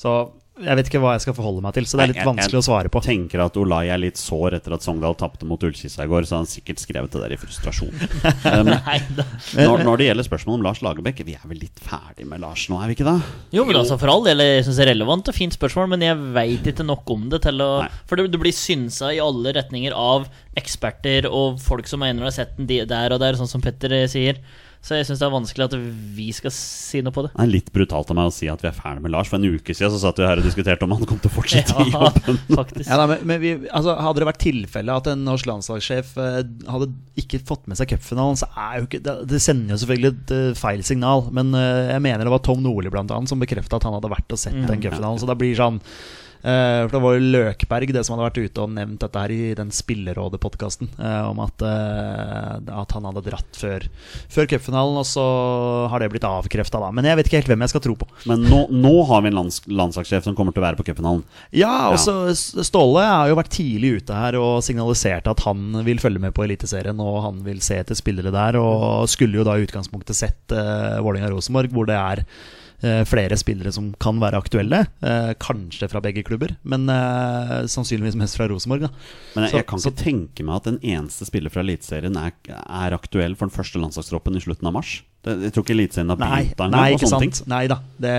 A: Så jeg vet ikke hva jeg skal forholde meg til, så det er
B: Nei,
A: litt
B: jeg- jeg-
A: vanskelig å svare på.
B: Tenker at Olai er litt sår etter at Sogndal tapte mot Ullkisa i går, så han sikkert skrevet det der i frustrasjon. Um,
C: Nei da.
B: når, når det gjelder spørsmålet om Lars Lagerbäck, vi er vel litt ferdig med Lars nå, er vi ikke det?
C: Jo, men altså for all del, jeg synes det er relevant og fint spørsmål, men jeg veit ikke nok om det til å
B: Nei.
C: For det, det blir synsa i alle retninger av eksperter og folk som mener å ha sett den de- der og der, sånn som Petter eh, sier. Så jeg syns det er vanskelig at vi skal si noe på det.
B: Det er litt brutalt av meg å si at vi er ferdig med Lars. For en uke siden så satt vi her og diskuterte om han kom til å fortsette i
C: Ja,
B: jobben.
C: faktisk.
A: Ja, nei, men, men vi, altså, hadde det vært tilfelle at en norsk landslagssjef eh, hadde ikke fått med seg cupfinalen, så er jo ikke Det, det sender jo selvfølgelig et eh, feil signal. Men eh, jeg mener det var Tom Nordli blant annet som bekrefta at han hadde vært og sett den cupfinalen. Så det blir sånn eh, For det var jo Løkberg det som hadde vært ute og nevnt dette her i den Spillerådet-podkasten. eh, om at, eh, at han hadde dratt før, før cupfinalen, og så har det blitt avkrefta, da. Men jeg vet ikke helt hvem jeg skal tro på.
B: Men nå, nå har vi en lands, landslagssjef som kommer til å være på cupfinalen.
A: Ja,
B: Ja.
A: og så S- Ståle har jo vært tidlig ute her og signaliserte at han vil følge med på Eliteserien og han vil se etter spillere der. Og skulle jo da i utgangspunktet sett uh, Vålerenga-Rosenborg, hvor det er eh, flere spillere som kan være aktuelle. eh, kanskje fra begge klubber, men eh, sannsynligvis mest fra Rosenborg. da
B: Men jeg,
A: Så-
B: jeg kan ikke tenke meg at en eneste spiller fra Eliteserien er, er aktuell for den første landslagstroppen i slutten av mars. Det, jeg tror ikke Eliteserien har
A: Nei,
B: begynt
A: nei
B: engang. og
A: ikke
B: sånne ting.
A: sant. Nei da. Det,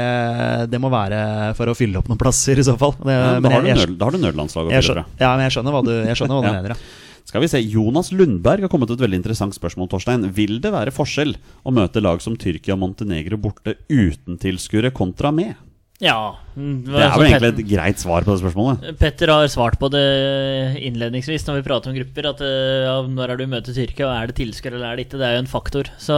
A: det må være for å fylle opp noen plasser, i så fall. Det,
B: Ja,
A: Eh,
B: Eh, da,
A: men
B: har du
A: jeg, jeg,
B: nød, da har du nødlandslag å
A: jeg,
B: fylle
A: skjønner,
B: fra.
A: ja, men jeg skjønner hva du, jeg skjønner hva du
B: Ja.
A: mener. Ja.
B: Skal vi se, Jonas Lundberg har kommet til et veldig interessant spørsmål. Torstein Vil det være forskjell å møte lag som Tyrkia og Montenegro borte uten tilskuere kontra med?
C: Ja. mm,
B: Det er vel
C: altså, Petter-
B: egentlig et greit svar på det spørsmålet.
C: Petter har svart på det innledningsvis når vi prater om grupper. At eh, ja, når er det du møter Tyrkia, og er det tilskuere eller er det ikke? Det er jo en faktor. Så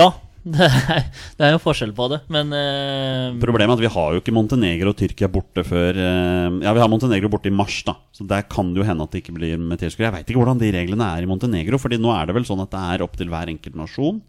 C: ja, det er, det er jo forskjell på det, men eh,
B: Problemet er at vi har jo ikke Montenegro og Tyrkia borte før eh, Ja, vi har Montenegro borte i mars, da. Så der kan det jo hende at det ikke blir med tilskuere. Jeg veit ikke hvordan de reglene er i Montenegro, Fordi nå er det vel sånn at det er opp til hver enkelt nasjon.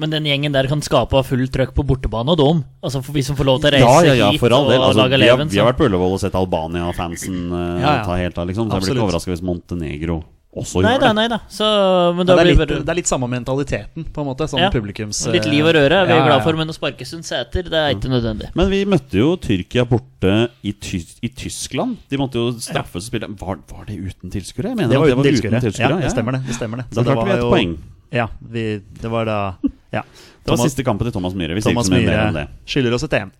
C: Men den gjengen der kan skape fullt trøkk på bortebane og dom. Altså for vi som får lov til å reise
B: Ja, ja, ja,
C: hit
B: for all del.
C: og
B: Altså,
C: lage
B: vi, har,
C: leven.
B: vi har vært på Ullevål og sett Albania-fansen eh,
A: Ja, ja.
B: ta helt av, liksom. Så jeg blir ikke
A: Absolutt.
B: overraska hvis Montenegro også
C: Nei
B: gjør
C: da,
B: det.
C: nei da. Så, men da
A: Ja, det, er
C: blir
A: litt,
C: bare
A: det er litt samme mentaliteten, på en måte. Sånn
C: Ja,
A: publikums
C: Litt liv og røre er vi
A: Ja, ja,
C: glad for,
A: ja.
C: men å sparke sund seter, det er ikke nødvendig.
B: Men vi møtte jo Tyrkia borte i, ty i Tyskland. De måtte jo straffes og spille Var, var det uten tilskuere? Jeg mener
A: Det
B: at
A: var uten tilskuere. Ja,
B: ja.
A: det stemmer det. det, stemmer det.
B: Da klarte vi et poeng.
A: Ja, vi, det var da Ja.
B: Det var
A: Thomas-
B: siste kampen til Thomas Myhre. Vi sier ikke
A: Thomas
B: så mye mer om
A: Myhre
B: det.
A: skylder oss et EM.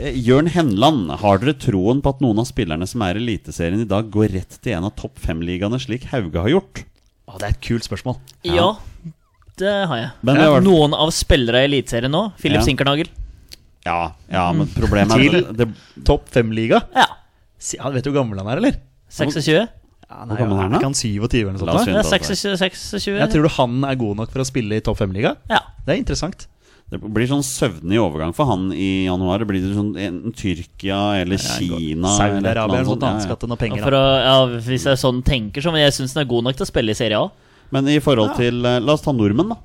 B: Eh, Jørn Henland, har dere troen på at noen av spillerne som er i Eliteserien i dag, går rett til en av topp fem-ligaene, slik Hauge har gjort?
A: Å, det er et kult spørsmål.
C: Ja, det har jeg.
B: Men det var-
C: Noen av spillere i Eliteserien nå. Philip
B: Ja.
C: Sinkernagel.
B: Ja, ja men problemet er
A: Mm. Til
B: at det,
A: Topp fem-liga.
C: Ja.
A: Si- Ja, vet du hvor gammel han er, eller?
C: 26.
A: Ja,
B: Hvor gammel er han da?
A: ikke han 27 eller noe
B: La oss
A: sånt? da?
C: Det er
B: altså.
C: 26, 26.
A: Jeg tror du han er god nok for å spille i topp fem-liga.
C: Ja.
A: Det er interessant.
B: det blir sånn søvnig overgang for han i januar. Det blir sånn enten Tyrkia eller Kina eller et eller
A: Saudi-Arabia
B: annet sånt.
A: eller noe sånt.
B: Ja,
A: Han
B: ja.
A: skal til noe
C: Og
A: penger.
C: For
A: da.
C: å, ja, hvis jeg sånn tenker, så. Men jeg syns den er god nok til å spille i Serie A.
B: Men i forhold til eh, La oss ta nordmenn, da.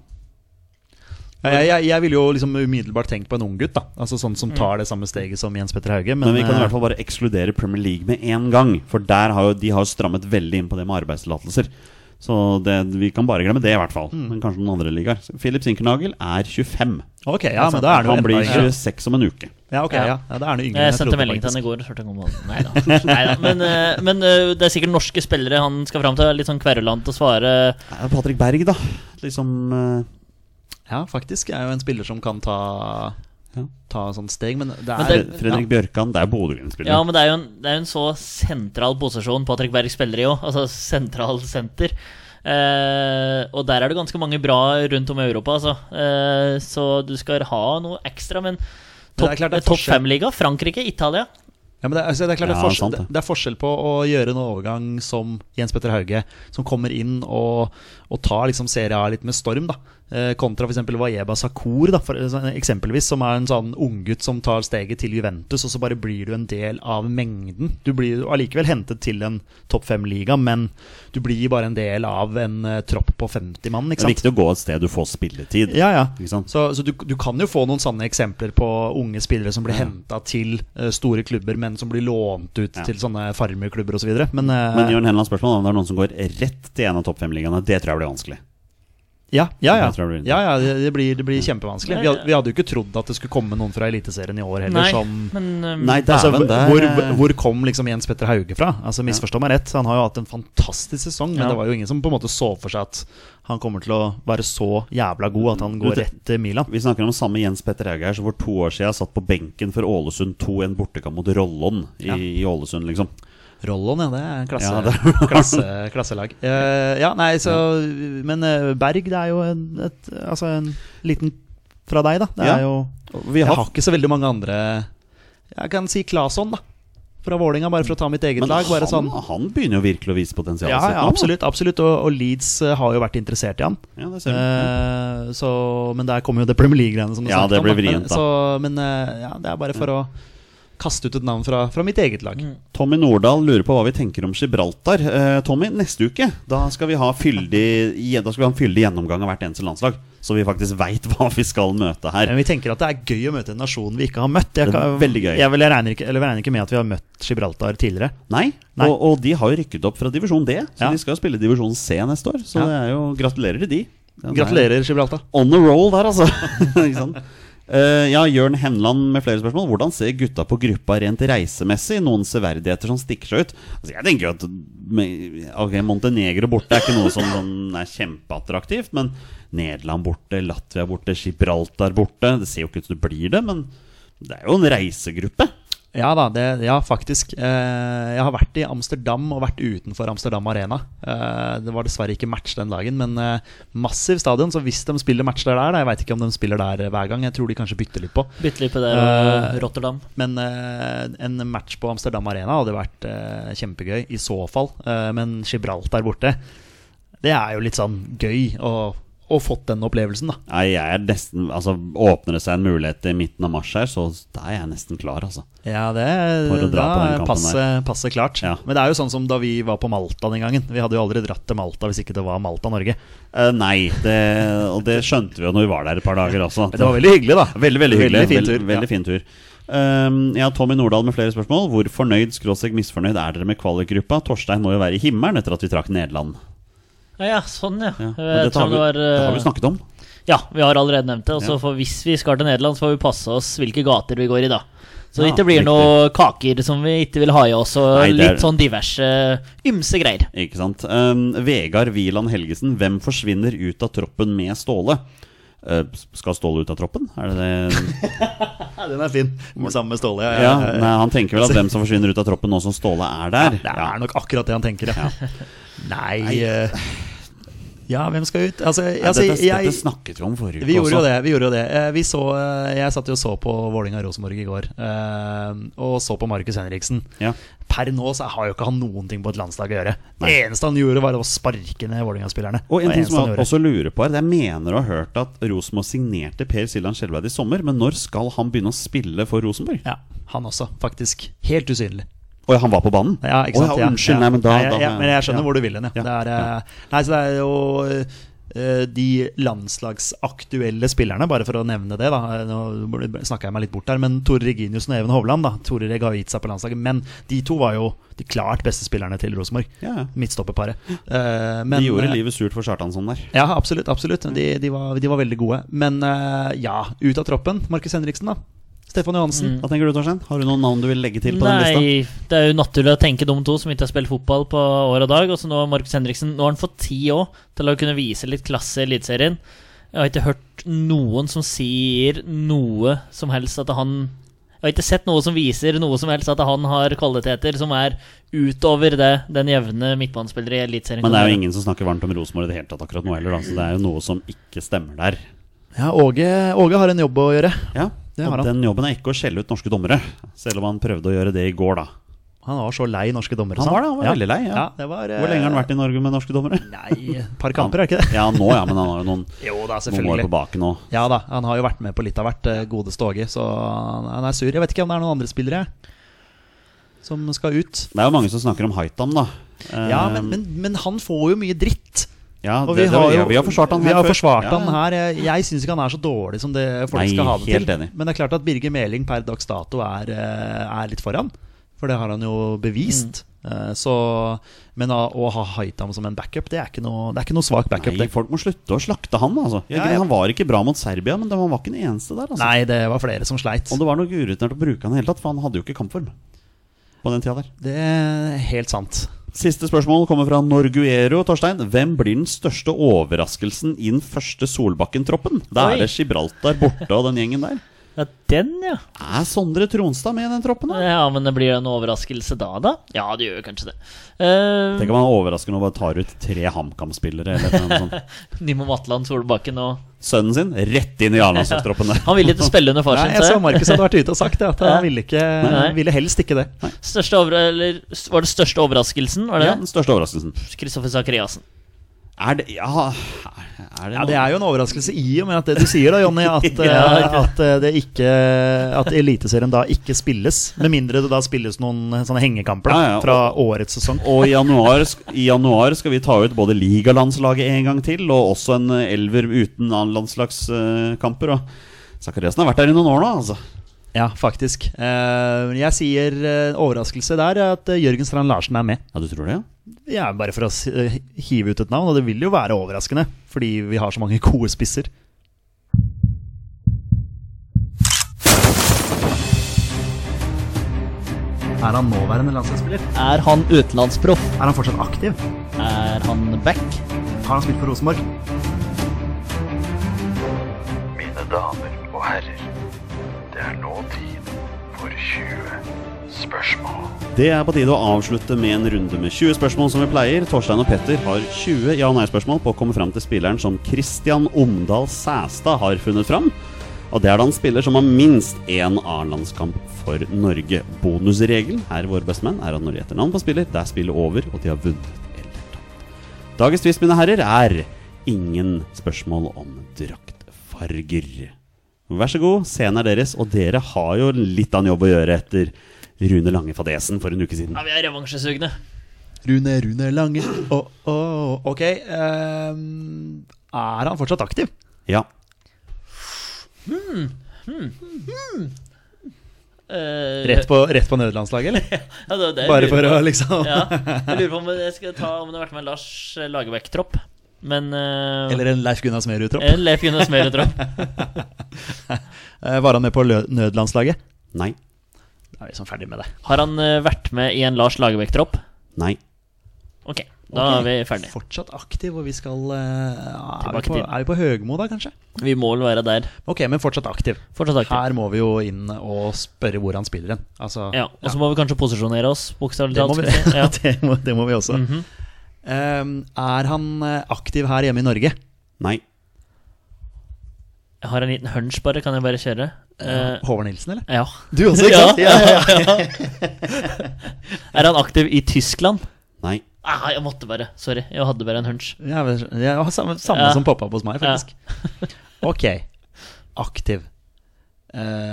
A: Ja, Jeg, jeg, jeg ville jo liksom umiddelbart tenkt på en unggutt, da. Altså sånn som
C: Mm.
A: tar det samme steget som Jens Petter Hauge. Men,
B: Men vi kan i
A: eh,
B: hvert fall bare ekskludere Premier League med én gang. For der har jo, de har jo strammet veldig inn på det med arbeidstillatelser. Så det, vi kan bare glemme det, i hvert fall. Men kanskje noen andre ligaer. Så Philip Sinkernagel er 25.
A: Ok, ja, men da er det jo
B: Han blir
A: enda-
B: 26 om en uke.
A: Ja, ok, ja. ja da er det yngre enn
C: Jeg sendte
A: trodde,
C: melding til
A: faktisk.
C: han i går. og spurte om han- Neida. Neida. Men, eh, men eh, det er sikkert norske spillere han skal fram til. Litt sånn kverulant å svare.
B: Ja, Patrick Berg, da. Liksom eh,
A: Ja, faktisk er jo en spiller som kan ta
B: Ja.
A: Ta sånn steg, men det
C: Men
A: er
C: det-
B: Fredrik Bjørkan. Det er Bodø-Glimt-spiller.
C: Ja, men det er jo en, det er jo en så sentral posisjon Patrick Berg spiller i òg. Altså sentral senter. Eh, og der er det ganske mange bra rundt om i Europa, altså. Eh, så du skal ha noe ekstra, men
A: Men
C: topp
A: det er klart det er
C: topp
A: forskjell.
C: fem-liga? Frankrike? Italia?
A: Ja, men det, er- altså, det er klart det,
B: Ja,
A: er forskjell,
B: sant det.
A: det. er forskjell på å gjøre en overgang som Jens Petter Hauge, som kommer inn og, og tar liksom Serie A litt med storm, da. Eh, kontra f.eks. Wayeba Sakur, da, for, sånn, eksempelvis, som er en sånn unggutt som tar steget til Juventus, og så bare blir du en del av mengden. Du blir jo allikevel hentet til en topp fem-liga, men du blir bare en del av en eh, tropp på 50 mann,
B: det er
A: ikke sant?
B: viktig å gå et sted du får spilletid.
A: Ja, ja.
B: Ikke sant?
A: Så, så du, du kan jo få noen sånne eksempler på unge spillere som blir henta til eh, store klubber, men som blir lånt ut til sånne farmerklubber osv. Så videre. men eh,
B: Men Jørn Henland spørsmål er om det er noen som går rett til en av topp fem-ligaene. Det tror jeg blir vanskelig.
A: ja, ja, ja.
B: Jeg tror det blir-
A: ja, ja det, det, blir, det blir kjempevanskelig.
C: Nei,
A: Vi, had, vi hadde jo ikke trodd at det skulle komme noen fra Eliteserien i år heller.
C: Nei,
A: som
C: men eh,
B: Nei,
A: Altså,
B: dæven, eh, det er-
A: hvor, hvor kom liksom Jens Petter Hauge fra? Altså, Misforstå meg rett, han har jo hatt en fantastisk sesong, men
C: Ja.
A: det var jo ingen som på en måte så for seg at han kommer til å være så jævla god at han
B: Du,
A: går
B: det-
A: rett til Milan.
B: Vi snakker om samme Jens Petter Hauge her som for to år siden satt på benken for Ålesund 2 en bortekamp mot Rollon i,
A: Ja.
B: i Ålesund, liksom.
A: Rollon, ja. Det er en eh, klasse,
B: Ja, det
A: klasse, klasselag. Eh, ja, nei, så Men eh, Berg, det er jo en, et, altså en liten fra deg, da. Det
B: Ja.
A: er jo
B: Vi
A: Jeg
B: har,
A: har ikke så veldig mange andre Jeg kan si Claesson, da. Fra Vålinga, bare for å ta mitt eget
B: men
A: lag. Bare
B: han,
A: sånn
B: han begynner jo virkelig å vise potensialet
A: ja,
B: sitt
A: ja,
B: nå, da.
A: absolutt. absolutt og, og Leeds eh, har jo vært interessert i han.
B: Ja, det ser du.
A: Eh, så, men der kommer jo det Premier League-greiene som du
B: Ja,
A: snakket
B: det
A: om.
B: blir
A: da.
B: vrient,
A: men,
B: da.
A: så, men eh, ja, det er bare for å kaste ut et navn fra, fra mitt eget lag.
B: Tommy Nordahl lurer på hva vi tenker om Gibraltar. Eh, Tommy, neste uke da skal vi ha fyldig ja, Da skal vi ha en fyldig gjennomgang av hvert eneste landslag. Så vi faktisk veit hva vi skal møte her.
A: Men vi tenker at det er gøy å møte en nasjon vi ikke har møtt. Jeg,
B: Det er
A: kan-
B: veldig gøy.
A: Jeg, vel, jeg, regner ikke, eller jeg regner ikke med at vi har møtt Gibraltar tidligere.
B: Nei,
A: Nei.
B: Og, og de har jo rykket opp fra divisjon D, så
A: Ja.
B: de skal spille divisjon C neste år. Så
A: Ja.
B: det er jo gratulerer til de. Den er-
A: Gratulerer, Gibraltar.
B: on the roll der, altså. Ikke sant? Eh, ja, Jørn Henland med flere spørsmål. Hvordan ser gutta på gruppa rent reisemessig? Noen severdigheter som stikker seg ut? Altså, jeg tenker jo at med- Ok, Montenegro borte er ikke noe som sånn, er kjempeattraktivt, men Nederland borte, Latvia borte, Gibraltar borte Det ser jo ikke ut som det blir det, men det er jo en reisegruppe.
A: Ja da, det, ja, faktisk. Eh, jeg har vært i Amsterdam og vært utenfor Amsterdam Arena. Eh, det var dessverre ikke match den dagen, men eh, massiv stadion. Så hvis de spiller match der, da, jeg veit ikke om de spiller der hver gang. Jeg tror de kanskje bytter litt på.
C: Bytte litt på det. og
A: Eh,
C: Rotterdam.
A: Men eh, en match på Amsterdam Arena hadde vært eh, kjempegøy, i så fall. Eh, men Gibraltar borte, det er jo litt sånn gøy å å fått den opplevelsen, da.
B: Nei, jeg er nesten Altså, åpner det seg en mulighet i midten av mars her, så da er jeg nesten klar, altså.
A: Ja, det
B: For å dra på den
A: da
B: kampen
A: passer passe klart.
B: Ja.
A: Men det er jo sånn som da vi var på Malta den gangen. Vi hadde jo aldri dratt til Malta hvis ikke det var Malta-Norge.
B: Eh, nei, det, og det skjønte vi jo når vi var der et par dager også.
A: Men det var veldig hyggelig, da.
B: Veldig, veldig hyggelig.
A: Veldig fin
B: Veld-
A: tur,
B: Veldig,
A: ja.
B: fin tur. Ehm, jeg har Tommy Nordahl med flere spørsmål. Hvor fornøyd skråstrek misfornøyd er dere med kvalikgruppa? Torstein må jo være i himmelen etter at vi trakk Nederland.
C: Ja, ja, sånn, ja.
B: Ja,
C: Jeg
B: men dette
C: tror
B: har vi,
C: det var,
B: det har vi
C: eh,
B: snakket om.
C: Ja, vi har allerede nevnt det. Og
B: Ja.
C: så får- hvis vi skal til Nederland, så får vi passe oss hvilke gater vi går i, da. Så
B: Ja,
C: det ikke blir
B: riktig.
C: noe kaker som vi ikke vil ha i oss, og
B: Nei, det er-
C: litt sånn diverse ymse greier.
B: Ikke sant. Um, Vegard Wieland Helgesen, hvem forsvinner ut av troppen med Ståle? Eh, skal Ståle ut av troppen? Er det det?
A: Ja, den er fin. Sammen med Ståle.
B: Ja, nei, han tenker vel at hvem som forsvinner ut av troppen nå som Ståle er der.
A: Det
B: Ja.
A: er nok akkurat det han tenker, ja. Nei eh, Ja, hvem skal ut? Altså,
B: Nei,
A: altså
B: dette,
A: jeg
B: dette snakket vi om forrige uke
A: vi gjorde
B: også.
A: jo det. vi gjorde jo det Eh, vi så, eh, Jeg satt jo og så på Vålinga-Rosenborg i går, eh, og så på Markus Henriksen.
B: Ja.
A: Per nå så har jo ikke han noen ting på et landslag å gjøre. Det
B: Nei.
A: eneste han gjorde, var å sparke ned Vålinga-spillerne.
B: Og en
A: Det
B: ting
A: eneste
B: som
A: han
B: jeg
A: gjorde.
B: også lurer på er Jeg mener å ha hørt at Rosenborg signerte Per Siljan Skjelveid i sommer, men når skal han begynne å spille for Rosenborg?
A: Ja, han også, faktisk. Helt usynlig.
B: Og han var på banen?
A: Ja, ikke sant?
B: Å, ja, unnskyld, nei, men da,
A: Nei, ja,
B: da
A: ja, Men jeg skjønner
B: ja.
A: hvor du vil hen, ja.
B: Ja,
A: Det er, eh, Nei, så det er jo eh, de landslagsaktuelle spillerne, bare for å nevne det, da. Nå snakka jeg meg litt bort der, men Tore Reginiussen og Even Hovland, da. Tore Reg har jo gitt seg på landslaget, men de to var jo de klart beste spillerne til Rosenborg.
B: Ja, ja.
A: Midtstopperparet. Eh,
B: De gjorde livet surt for Kjartansson der.
A: Ja, absolutt. absolutt De, de, var, de var veldig gode. Men eh, ja, ut av troppen. Markus Henriksen, da. Stefan Johansen.
B: Hva tenker du, Torstein? Har du noen navn du vil legge til på den lista?
C: Nei, det er jo naturlig å tenke de to som ikke har spilt fotball på år og dag. Og så nå har Markus Henriksen Nå har han fått tid òg til å kunne vise litt klasse i Eliteserien. Jeg har ikke hørt noen som sier noe som helst at han Jeg har ikke sett noe som viser noe som helst at han har kvaliteter som er utover det den jevne midtbanespiller i Eliteserien.
B: Men det
C: kan
B: er
C: være.
B: jo ingen som snakker varmt om Rosenborg i det hele tatt akkurat nå heller, da. Så det er jo noe som ikke stemmer der.
A: Ja, Åge, Åge har en jobb å gjøre.
B: Ja,
A: Det har
B: Og
A: han.
B: den jobben er ikke å skjelle ut norske dommere, selv om han prøvde å gjøre det i går, da.
A: Han var så lei norske dommere.
B: Han
A: sa
B: var det, han var
A: Ja.
B: veldig lei.
A: Ja.
B: Ja.
A: det var, eh,
B: Hvor lenge har han vært i Norge med norske dommere?
A: Nei, et par kamper, er ikke det?
B: Ja, nå ja, men han har jo noen,
A: Jo da,
B: noen år på baken nå.
A: Ja da, han har jo vært med på litt av hvert, eh, godeste Åge, så han han er sur. Jeg vet ikke om det er noen andre spillere som skal ut.
B: Det er jo mange som snakker om Haitam, da. Eh,
A: Ja, men, men, men han får jo mye dritt.
B: ja,
A: Og
B: det,
A: vi
B: det,
A: har
B: ja,
A: jo-
B: vi har forsvart han
A: Vi har
B: før.
A: forsvart
B: Ja,
A: han her. Jeg, jeg syns ikke han er så dårlig som det folk
B: Nei,
A: skal ha det
B: helt
A: til.
B: enig.
A: Men det er klart at Birger Meling per dags dato er, eh, er litt foran. For det har han jo bevist. Eh, Så, men å, å ha Haitam som en backup, det er ikke noe, det er ikke noe svak backup.
B: Nei,
A: det.
B: folk må slutte å slakte han, altså.
A: Ja,
B: Ikke-
A: ja.
B: Han var ikke bra mot Serbia, men han var ikke den eneste der, altså.
A: Nei, det var flere som sleit.
B: Og det var noe urutinert å bruke han i det hele tatt, for han hadde jo ikke kampform på den tida der.
A: Det er helt sant.
B: Siste spørsmål kommer fra Norguero. Torstein, hvem blir den største overraskelsen i den første Solbakken-troppen? Da
C: Oi.
B: er det Gibraltar borte og den gjengen der.
C: Ja, den, ja.
B: Er Sondre Tronstad med i den troppen,
A: Eh.
B: da?
C: Ja, men det blir jo en overraskelse da, da? Ja, det gjør jo kanskje det. Eh,
B: Tenk om han er overraskende og bare tar ut tre HamKam-spillere eller noe sånt.
C: Nimo Matland Solbakken og
B: Sønnen sin rett inn i A-landslagstroppen der.
C: Han ville ikke spille under far
A: Nei,
C: sin,
A: jeg
C: ser
A: så
C: jeg.
A: Markus hadde vært ute og sagt det, at han ville, ikke,
C: Nei.
A: ville helst ikke det.
C: Største over, eller, s- var det største overraskelsen? Var det
B: Ja,
C: det?
B: den største overraskelsen.
C: Kristoffer Sakariassen.
B: Er det Ja, er det,
A: Ja,
B: noe?
A: Det er jo en overraskelse i og med at det du sier da, Jonny, at, eh,
C: Ja, ikke
A: at, eh, det ikke, at Eliteserien da ikke spilles. Med mindre det da spilles noen eh, sånne hengekamper da,
B: Ja, ja, og-
A: fra årets sesong.
B: Og i januar, sk- i januar skal vi ta ut både ligalandslaget en gang til, og også en eh, elver uten landslagskamper. Og Zakariassen har vært der i noen år nå, altså.
A: Ja, faktisk. Eh, Jeg sier eh, overraskelse der er at eh, Jørgen Strand Larsen er med.
B: Ja, du tror det, ja?
A: Ja, bare for å s- eh, hive ut et navn, og det vil jo være overraskende, fordi vi har så mange gode spisser. Er han nåværende landslagsspiller?
C: Er han utenlandsproff?
A: Er han fortsatt aktiv?
C: Er han back?
A: Har han spilt for Rosenborg?
E: Mine damer og herrer, det er nå tid for 20 spørsmål.
B: Det er på tide å avslutte med en runde med 20 spørsmål som vi pleier. Torstein og Petter har 20 ja- og nei-spørsmål på å komme fram til spilleren som Christian Omdal Sæstad har funnet fram. Og det er da en spiller som har minst én A-landskamp for Norge. Bonusregelen her i Våre bestemenn er at når de gjetter navn på spiller, det er spillet over, og de har vunnet eller tapt. Dagens twist, mine herrer, er ingen spørsmål om draktfarger. Vær så god, scenen er deres, og dere har jo litt av en jobb å gjøre etter Rune Lange-fadesen for en uke siden.
C: Ja, vi er revansjesugne.
A: Rune, Rune Lange Å, å, Ok. ehm, er han fortsatt aktiv?
B: Ja.
C: Eh,
A: Rett på, rett på nødlandslaget, eller?
C: ja, det, var det jeg
A: Bare
C: lurer
A: for
C: på.
A: å liksom
C: ja, Jeg lurer på om jeg skal ta om det har vært med en Lars Lagerbäck-tropp. Men eh,
A: Eller en Leif Gunnar Smerud-tropp?
C: en Leif Gunnar Smerud-tropp.
A: Eh, Var han med på lø- nødlandslaget?
B: Nei.
A: Da er vi liksom ferdig med det.
C: Har han eh, vært med i en Lars Lagerbäck-tropp?
B: Nei.
C: Ok, da
A: Ok.
C: er vi ferdige.
A: Fortsatt aktiv, og vi skal eh, er,
C: Tilbake
A: vi på,
C: til-
A: er vi på Høgmo da, kanskje?
C: Vi må vel være der.
A: Ok, men fortsatt aktiv.
C: Fortsatt aktiv.
A: Her må vi jo inn og spørre hvor han spiller hen. Altså,
C: Ja, Og så må vi kanskje posisjonere oss, bokstavelig
A: Det må,
C: talt.
A: vi,
C: skal vi si. Ja. Mhm.
A: det, må, det må vi også. Ehm, er han eh, aktiv her hjemme i Norge?
B: Nei.
C: Jeg har en liten hunch, bare. Kan jeg bare kjøre? Eh,
A: Håvard Nilsen, eller?
C: ja.
A: Du også,
C: Ja, ja, ja. Er han aktiv i Tyskland?
B: Nei.
C: Ah, jeg måtte bare. Sorry, jeg hadde bare en hunch.
A: Ja, men- ja, samme samme
C: Ja.
A: som poppa opp hos meg,
C: Ja.
A: faktisk. ok. Aktiv.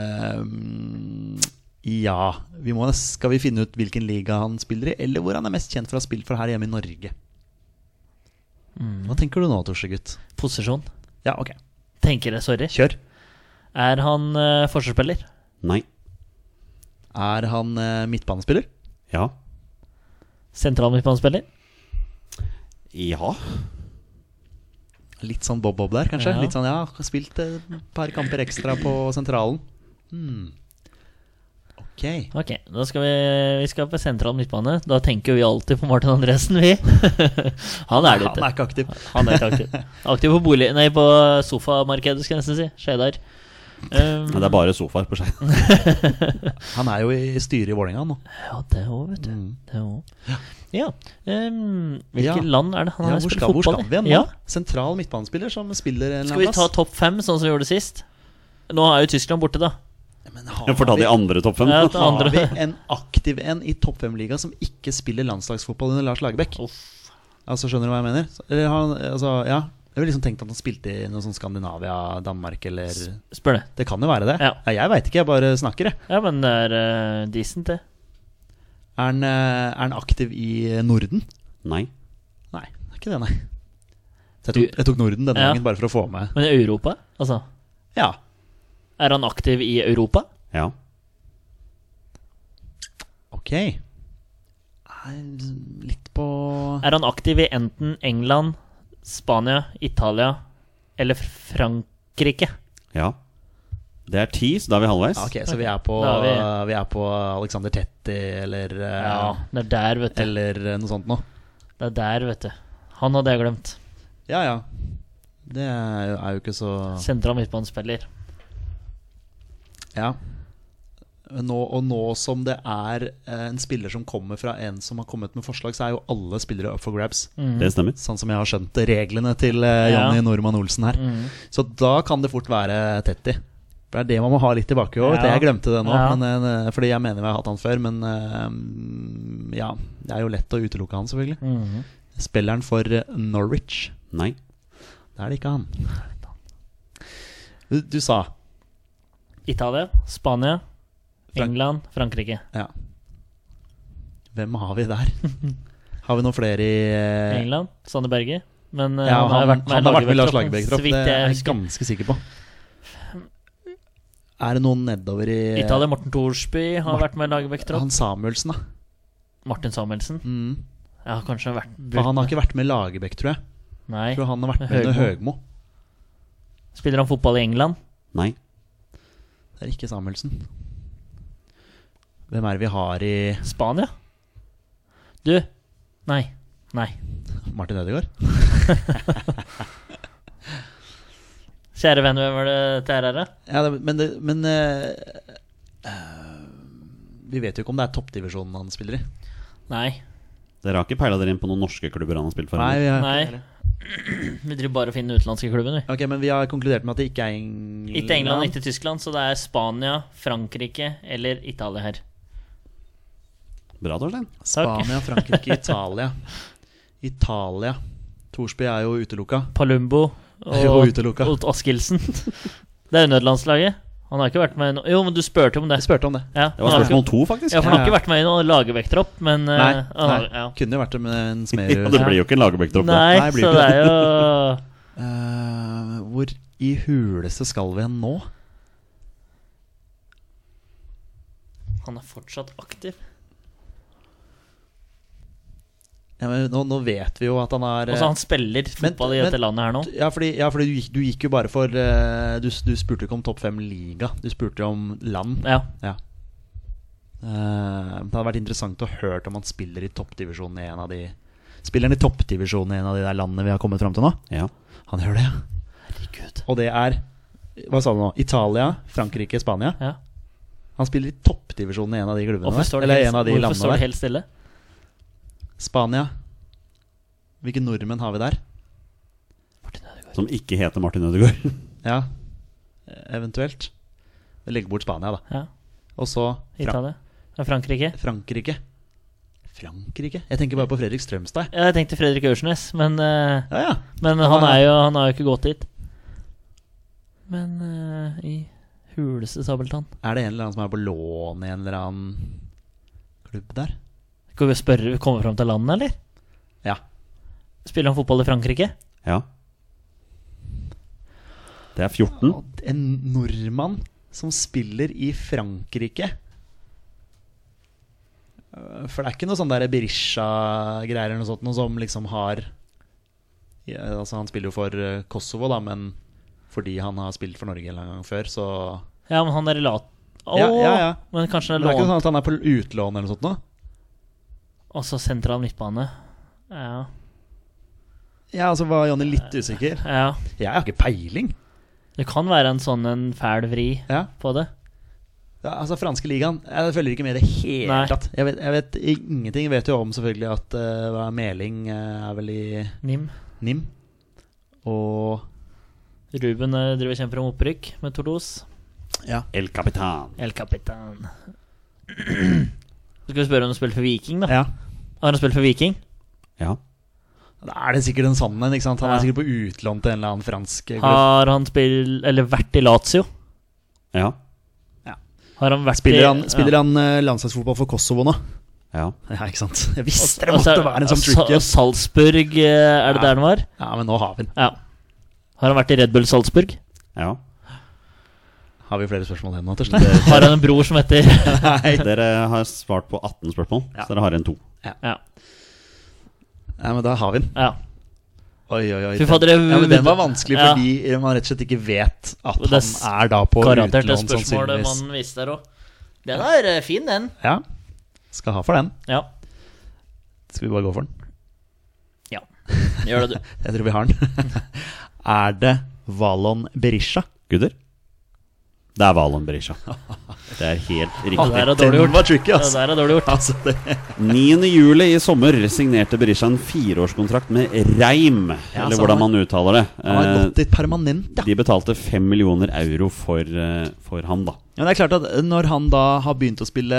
A: Ehm, ja vi må, nes- Skal vi finne ut hvilken liga han spiller i, eller hvor han er mest kjent for å ha spilt for her hjemme i Norge?
C: Mm.
A: Hva tenker du nå, Torsegutt?
C: Posisjon.
A: Ja, ok.
C: Tenker jeg, sorry.
A: Kjør.
C: Er han eh, forsvarsspiller?
B: Nei.
A: Er han eh, midtbanespiller?
B: Ja.
C: Sentral midtbanespiller?
B: Ja.
A: Litt sånn bob-bob der, kanskje?
C: Ja.
A: Litt sånn, ja, har spilt eh, et par kamper ekstra på sentralen. Hmm. Ok.
C: Ok, da skal vi, vi skal på sentral midtbane. Da tenker vi alltid på Martin Andresen, vi. han
A: Han
C: er det
A: er
C: ikke.
A: ikke aktiv.
C: Han er ikke aktiv. Aktiv på bolig... Nei, på sofamarkedet, skal jeg nesten si. Skjedar. Um,
B: Men det er bare sofaer på seg.
A: Han er jo i styret i Vålerenga nå.
C: Ja, det òg, vet du. Det også. Ja. ehm,
A: Mm. Ja.
C: hvilket land er det han
A: ja,
C: har
A: hvor,
C: spilt
A: skal, hvor
C: fotball
A: skal
C: i?
A: vi hen nå?
C: Ja.
A: Sentral midtbanespiller som spiller en
C: Skal vi ta topp fem, sånn som vi gjorde sist? Nå er jo Tyskland borte, da.
A: Men har,
B: Jeg får ta
A: vi,
B: de andre topp fem.
C: Ja, ta
A: har vi
C: andre.
A: en aktiv en i topp fem-liga som ikke spiller landslagsfotball under Lars Lagerbäck? Altså, skjønner du hva jeg mener? Så- Eller han, altså, ja Jeg ville liksom tenkt at han spilte i noe sånn Skandinavia, Danmark eller
C: Spør det.
A: Det kan jo være det.
C: Ja.
A: Nei, jeg veit ikke, jeg bare snakker, jeg.
C: Ja, men det er eh, decent, det.
A: Er han, eh, er han aktiv i eh, Norden?
B: Nei.
A: Nei, det er ikke det, nei. Så jeg
C: Du-
A: tok, jeg tok Norden denne
C: Ja.
A: gangen bare for å få med
C: Men i Europa, altså.
A: Ja.
C: Er han aktiv i Europa?
B: Ja.
A: Ok. Er litt på
C: Er han aktiv i enten England, Spania, Italia eller Frankrike?
B: Ja. Det er ti, så da er vi halvveis.
A: Ah, Ok, så vi er på,
C: Da
A: vi.
C: er
A: er på Alexander Tetti eller, eh,
C: Ja, det er der, vet du.
A: eller eh, noe sånt nå.
C: Det er der, vet du. Han hadde jeg glemt.
A: Ja, ja. Det er jo- er jo ikke så
C: Sentral midtbanespiller.
A: Ja. Nå, og nå som det er eh, en spiller som kommer fra en som har kommet med forslag, så er jo alle spillere up for grabs.
C: Mm.
B: Det stemmer.
A: Sånn som jeg har skjønt reglene til eh,
C: Ja. Mm.
A: Jonny Normann Olsen her. Så da kan det fort være Tetti. For det er det man må ha litt i bakhodet. vet du.
C: Ja.
A: Jeg glemte det nå,
C: Ja.
A: men, eh, fordi jeg mener vi har hatt han før. Men eh, ja, det er jo lett å utelukke han, selvfølgelig.
C: Mm.
A: Spiller han for eh, Norwich?
B: Nei.
A: Da er det ikke han. Du, du sa
C: Italia, Spania,
A: Frank-
C: England, Frankrike.
A: Ja. Hvem har vi der? Har vi noen flere i eh,
C: England, Sander Berge. Men eh,
A: Ja,
C: han, har vært med,
A: han har vært med i Lars Lagerbäck-tropp, det
C: så vidt
A: er
C: jeg
A: jeg ganske sikker på. Er det noen nedover i eh,
C: Italia, Morten Thorsby har
A: Mart-
C: vært med i Lagerbäck-tropp.
A: Han Samuelsen, da.
C: Martin Samuelsen.
A: Mm.
C: Ja, kanskje han har vært
A: For han har ikke vært med i Lagerbäck, tror jeg.
C: Nei.
A: Jeg tror han har vært med under Høgmo.
C: Spiller han fotball i England?
B: Nei.
A: Det er ikke Samuelsen. Hvem er det vi har i
C: Spania? Du Nei. Nei.
A: Martin Ødegaard?
C: Kjære venn, hvem var det til her? er, da?
A: Ja, det, men det, men eh, eh, Vi vet jo ikke om det er toppdivisjonen han spiller i.
C: Nei.
B: Dere har ikke peila dere inn på noen norske klubber han har spilt for? eller?
A: vi har-
C: Nei. Vi driver bare og finner utenlandske klubben, vi.
A: Ok, Men vi har konkludert med at det ikke er England.
C: Ikke England, ikke Tyskland, så det er Spania, Frankrike eller Italia her.
B: Bra, Torstein.
A: Spania, Frankrike, Italia. Italia. Thorsby er jo utelukka.
C: Palumbo
A: Og
C: og,
A: utelukka.
C: og Askildsen. Det er jo nødlandslaget. Han har ikke vært med i noe Jo, men du spurte om det.
A: Jeg spurte om det.
C: Ja,
B: Det var
C: han har
B: spørsmål
C: ikke-
B: to, faktisk.
C: Ja, for han har
A: Ja,
C: ikke
A: ja.
C: vært med i noen lagervektropp, men eh,
A: Nei,
C: han har-
A: nei.
C: ja.
A: Kunne jo vært det med en
B: Ja,
A: Smerud.
B: det blir jo ikke en Lagerbäck-tropp. da.
C: Nei,
A: Nei, blir
C: så
A: ikke
C: det er
A: det.
C: jo
A: Eh, hvor i huleste skal vi hen nå?
C: Han er fortsatt aktiv.
A: Ja, men nå, nå vet vi jo at han er eh,
C: Altså, han spiller fotball i dette
A: men-
C: landet her nå.
A: Ja, fordi, ja, fordi du, gikk, du gikk jo bare for eh, du, s- du spurte ikke om topp fem liga, du spurte om land.
C: Ja.
A: Ja. Eh, det hadde vært interessant å hørt om han spiller i toppdivisjonen i en av de Spiller han i toppdivisjonen i en av de der landene vi har kommet fram til nå?
B: Ja.
A: Han gjør det, ja.
C: Herregud.
A: Og det er Hva sa du nå? Italia, Frankrike, Spania?
C: Ja.
A: Han spiller i toppdivisjonen i en av de klubbene
C: Hvorfor
A: der.
C: står det
A: Eller
C: helt,
A: en av de
C: hvorfor
A: landene
C: står det
A: der.
C: helt stille?
A: Spania. Hvilke nordmenn har vi der?
B: Som ikke heter Martin Ødegaard.
A: Ja, eventuelt. Legg bort Spania, da.
C: Ja,
A: Og så Fra
C: Italia. Ja, Frankrike.
A: Frankrike. Frankrike? Jeg tenker bare på Fredrik Strømstad. jeg.
C: Ja, jeg tenkte Fredrik Aursnes, men, eh,
A: Ja, ja.
C: men han, er jo, han har jo ikke gått dit. Men eh, i huleste Sabeltann
A: Er det en eller annen som er på lån i en eller annen klubb der?
C: Skal vi spørre, komme fram til landet, eller?
A: Ja.
C: Spiller han fotball i Frankrike?
B: Ja. Det er 14.
A: Og En nordmann som spiller i Frankrike. Eh, For det er ikke noe sånn der Berisha-greier eller noe sånt, noe som liksom har ja, Altså, han spiller jo for eh, Kosovo, da, men fordi han har spilt for Norge en eller annen gang før, så
C: Ja, men han er i lat... Åh,
A: Ja, ja, ja.
C: Men kanskje
A: Men
C: han
A: det
C: er
A: er ikke
C: lånt,
A: sånn at han er på utlån eller noe sånt nå?
C: og så sentral midtbane. Ja.
A: Ja, altså var Jonny litt usikker?
C: ja.
A: Jeg har ikke peiling.
C: Det kan være en sånn en fæl vri
A: Ja,
C: på det.
A: Ja, altså franske ligaen Jeg følger ikke med i det hele
C: Nei.
A: tatt. Jeg vet, jeg vet ingenting. Jeg vet jo om selvfølgelig at eh, hva er Meling eh, er vel i
C: Nim.
A: NIM. Og
C: Ruben eh, driver og kjemper om opprykk med Toulouse.
B: El Capitan.
C: El Capitan. Skal vi spørre om han spiller for Viking, da?
A: ja.
C: Har han spilt for Viking?
B: Ja.
A: Da er det sikkert en sann en. ikke sant? Han
C: Ja.
A: er sikkert på utlån til en eller annen fransk klubb.
C: Har han spill... Eller vært i Lazio?
B: Ja.
C: Har han vært
A: Spiller
C: i
A: han, spiller han eh, landslagsfotball for Kosovo nå?
B: Ja.
A: Ja, ikke sant? Jeg visste det
C: Og så
A: måtte
C: er-
A: være en sånn
C: Altså, Sa-
A: tricky
C: Salzburg, eh, er det
A: Ja.
C: der han var?
A: Ja, men nå har vi den.
C: Ja. Har han vært i Red Bull Salzburg?
B: ja.
A: Har vi flere spørsmål igjen nå, Torstein?
C: Har han en bror som heter
A: Nei.
B: Dere har svart på 18 spørsmål,
A: Ja.
B: så dere har igjen to.
C: Ja.
A: Ja, men da har vi den.
C: ja.
A: Oi, oi, oi.
C: Fy fader, det-
A: ja, men den var vanskelig
C: Ja.
A: fordi man rett og slett ikke vet at
C: Og det
A: han
C: er
A: er da på
C: Garantert det
A: utlån,
C: spørsmålet
A: sannsynligvis.
C: man viste der òg. Den er eh, fin, den.
A: Ja. Skal ha for den.
C: Ja.
A: Skal vi bare gå for den?
C: ja. Gjør det, du.
A: Jeg tror vi har den. er det Valon Berisha?
B: Gutter? Det er Valon Berisha. Det er helt
C: Å, det
B: riktig.
C: er da dårlig
A: Den
C: gjort.
A: var tricky,
C: Det
A: altså.
C: der er dårlig gjort.
A: altså det.
B: 9. juli i sommer signerte Berisha en fireårskontrakt med Reim,
A: Ja,
B: eller
A: så
B: hvordan
A: han-
B: man uttaler det.
A: Han har
B: Eh,
A: gått dit permanent, ja.
B: De betalte fem millioner euro for, eh, for ham, da.
A: Men det er klart at Når han da har begynt å spille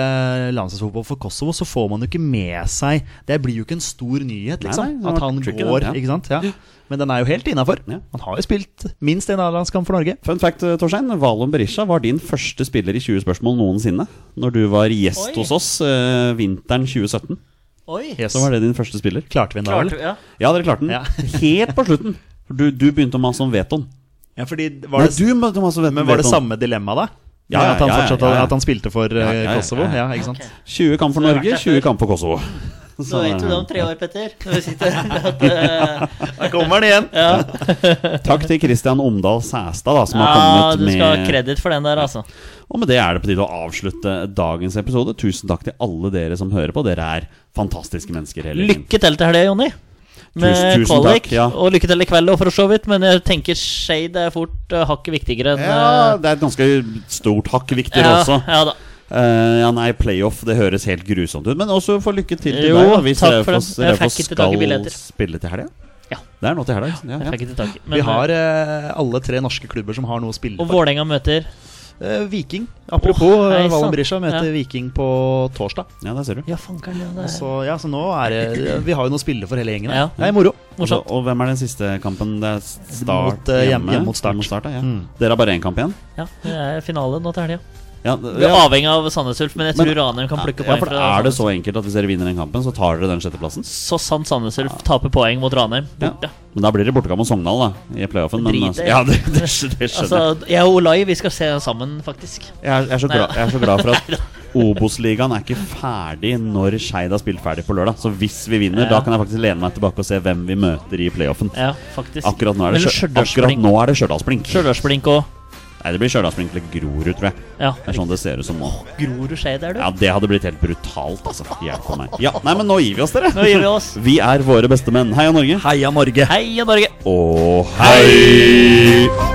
A: landslagsfotball for Kosovo, så får man jo ikke med seg Det blir jo ikke en stor nyhet,
B: Nei,
A: liksom.
B: nei, det
A: at
B: var
A: han
B: tricky, den,
A: går,
B: ja.
A: ikke sant. Ja. Men den er jo helt innafor.
B: Ja.
A: Han har jo spilt minst en A-landskamp for Norge.
B: Fun fact, eh, Torstein. Valon Berisha var din første spiller i 20 spørsmål noensinne. Når du var gjest
C: Oi.
B: hos oss eh, vinteren 2017,
C: Oi.
A: Yes.
B: så var det din første spiller.
A: Klarte vi den da,
C: Klart,
A: eller?
C: ja.
B: Ja, dere klarte den.
A: Ja.
B: Helt på slutten. For Du, du begynte å mase om vetoen.
A: Ja, fordi var
B: Var
A: det,
B: du møtte om vetoen?
A: men var det samme dilemma, da?
B: Ja,
A: Med at han
B: ja, ja,
A: fortsatt
B: ja, ja.
A: At han spilte for eh,
B: Ja, ja, ja, ja.
A: Kosovo? Ja, ikke sant?
C: Ok.
B: 20 kamp for
C: Så det har vært
B: Norge,
C: der
B: 20
C: før.
B: kamp for Kosovo.
C: Så
B: Sånn
C: vet du det om tre år, Petter. Når vi sitter at, eh,
A: Da kommer han igjen!
C: ja.
B: Takk til Christian Omdal Sæstad, da, som har
C: ja, du
B: kommet
C: skal ha
B: med
C: kreditt for den der, altså.
B: Og med det er det på tide å avslutte dagens episode. Tusen takk til alle dere som hører på. Dere er fantastiske mennesker hele gjengen.
C: Lykke til til helga, Jonny. Med
B: Tusen- tusen
C: kvalik.
B: takk, ja.
C: Og lykke til i kveld òg, for så vidt. Men jeg tenker Shade er fort eh, hakket viktigere enn
B: Ja,
C: eh,
B: det er et ganske stort hakk viktigere
C: ja,
B: også.
C: ja da.
B: Eh, ja, nei, playoff, det høres helt grusomt ut. Men også få lykke til til
C: Jo,
B: deg, da, hvis
C: takk for
B: Raufoss
C: det. Jeg fikk
B: Raufoss
C: ikke tak i billetter.
B: skal spille til helga.
C: Ja.
B: Det er nå til helga. Ja,
C: Jeg
B: ja.
C: fikk ikke tak i men,
A: Vi har eh, alle tre norske klubber som har noe å spille
C: Og
A: for.
C: Vålerenga møter
A: Eh, Viking. Apropos
C: Åh, hei,
A: oh,
C: sant.
A: Valen Berisha møter
C: Ja.
A: Viking på torsdag.
B: ja der ser du.
C: Ja, fanker'n. Ja, det er-
B: Altså-
A: Så, ja, så nå er det Vi har jo noe å spille for hele gjengen. her.
C: Ja.
A: Det er moro.
B: Og,
C: morsomt.
B: og hvem er den siste kampen? Det er start
A: Mot, eh, hjem- hjemme mot Start.
B: ja.
C: Mm.
B: Dere har bare én kamp ign?
C: Ja, det er finale nå til helga.
B: Ja,
C: Vi er
B: ja.
C: avhengig av Sandnes Ulf, men jeg tror
B: Men-
C: Ranheim kan plukke
B: ja,
C: poeng.
B: for
C: fra
B: er det
C: Sandnes
B: så enkelt at hvis dere vinner den kampen, så tar dere den sjetteplassen?
C: Ulf. sånn- Så sant Sandnes Ulf taper poeng mot Ranheim. Borte.
B: Men da blir det bortekamp mot Sogndal, da, i playoffen. Men,
C: Drit
B: altså,
C: det.
B: ja, det, det, skj- det skjønner jeg.
C: Altså, jeg og Olai vi skal se den sammen, faktisk.
B: Jeg er, jeg, er så
C: Nei.
B: glad, jeg er så glad for at Obos-ligaen er ikke ferdig når Skeid har spilt ferdig på lørdag. Så hvis vi vinner,
C: Ja.
B: da kan jeg faktisk lene meg tilbake og se hvem vi møter i playoffen.
C: Ja, faktisk.
B: Akkurat nå er det,
C: Eller
B: Skjø- akkurat
C: Stjørdalsblink.
B: nå er det Stjørdalsblink.
C: Stjørdalsblink òg.
B: Nei, det blir Stjørdalsblink eller Grorud, tror jeg.
C: Ja.
B: Det er sånn det ser ut som nå.
C: Grorud skjedd er du.
B: Ja, det hadde blitt helt brutalt, altså. Hjelp meg. Ja, nei, men nå gir vi oss, dere.
C: Nå gir vi oss.
B: Vi er våre beste menn. Heia Norge.
A: Heia Norge!
C: Heia Norge!
B: Og hei!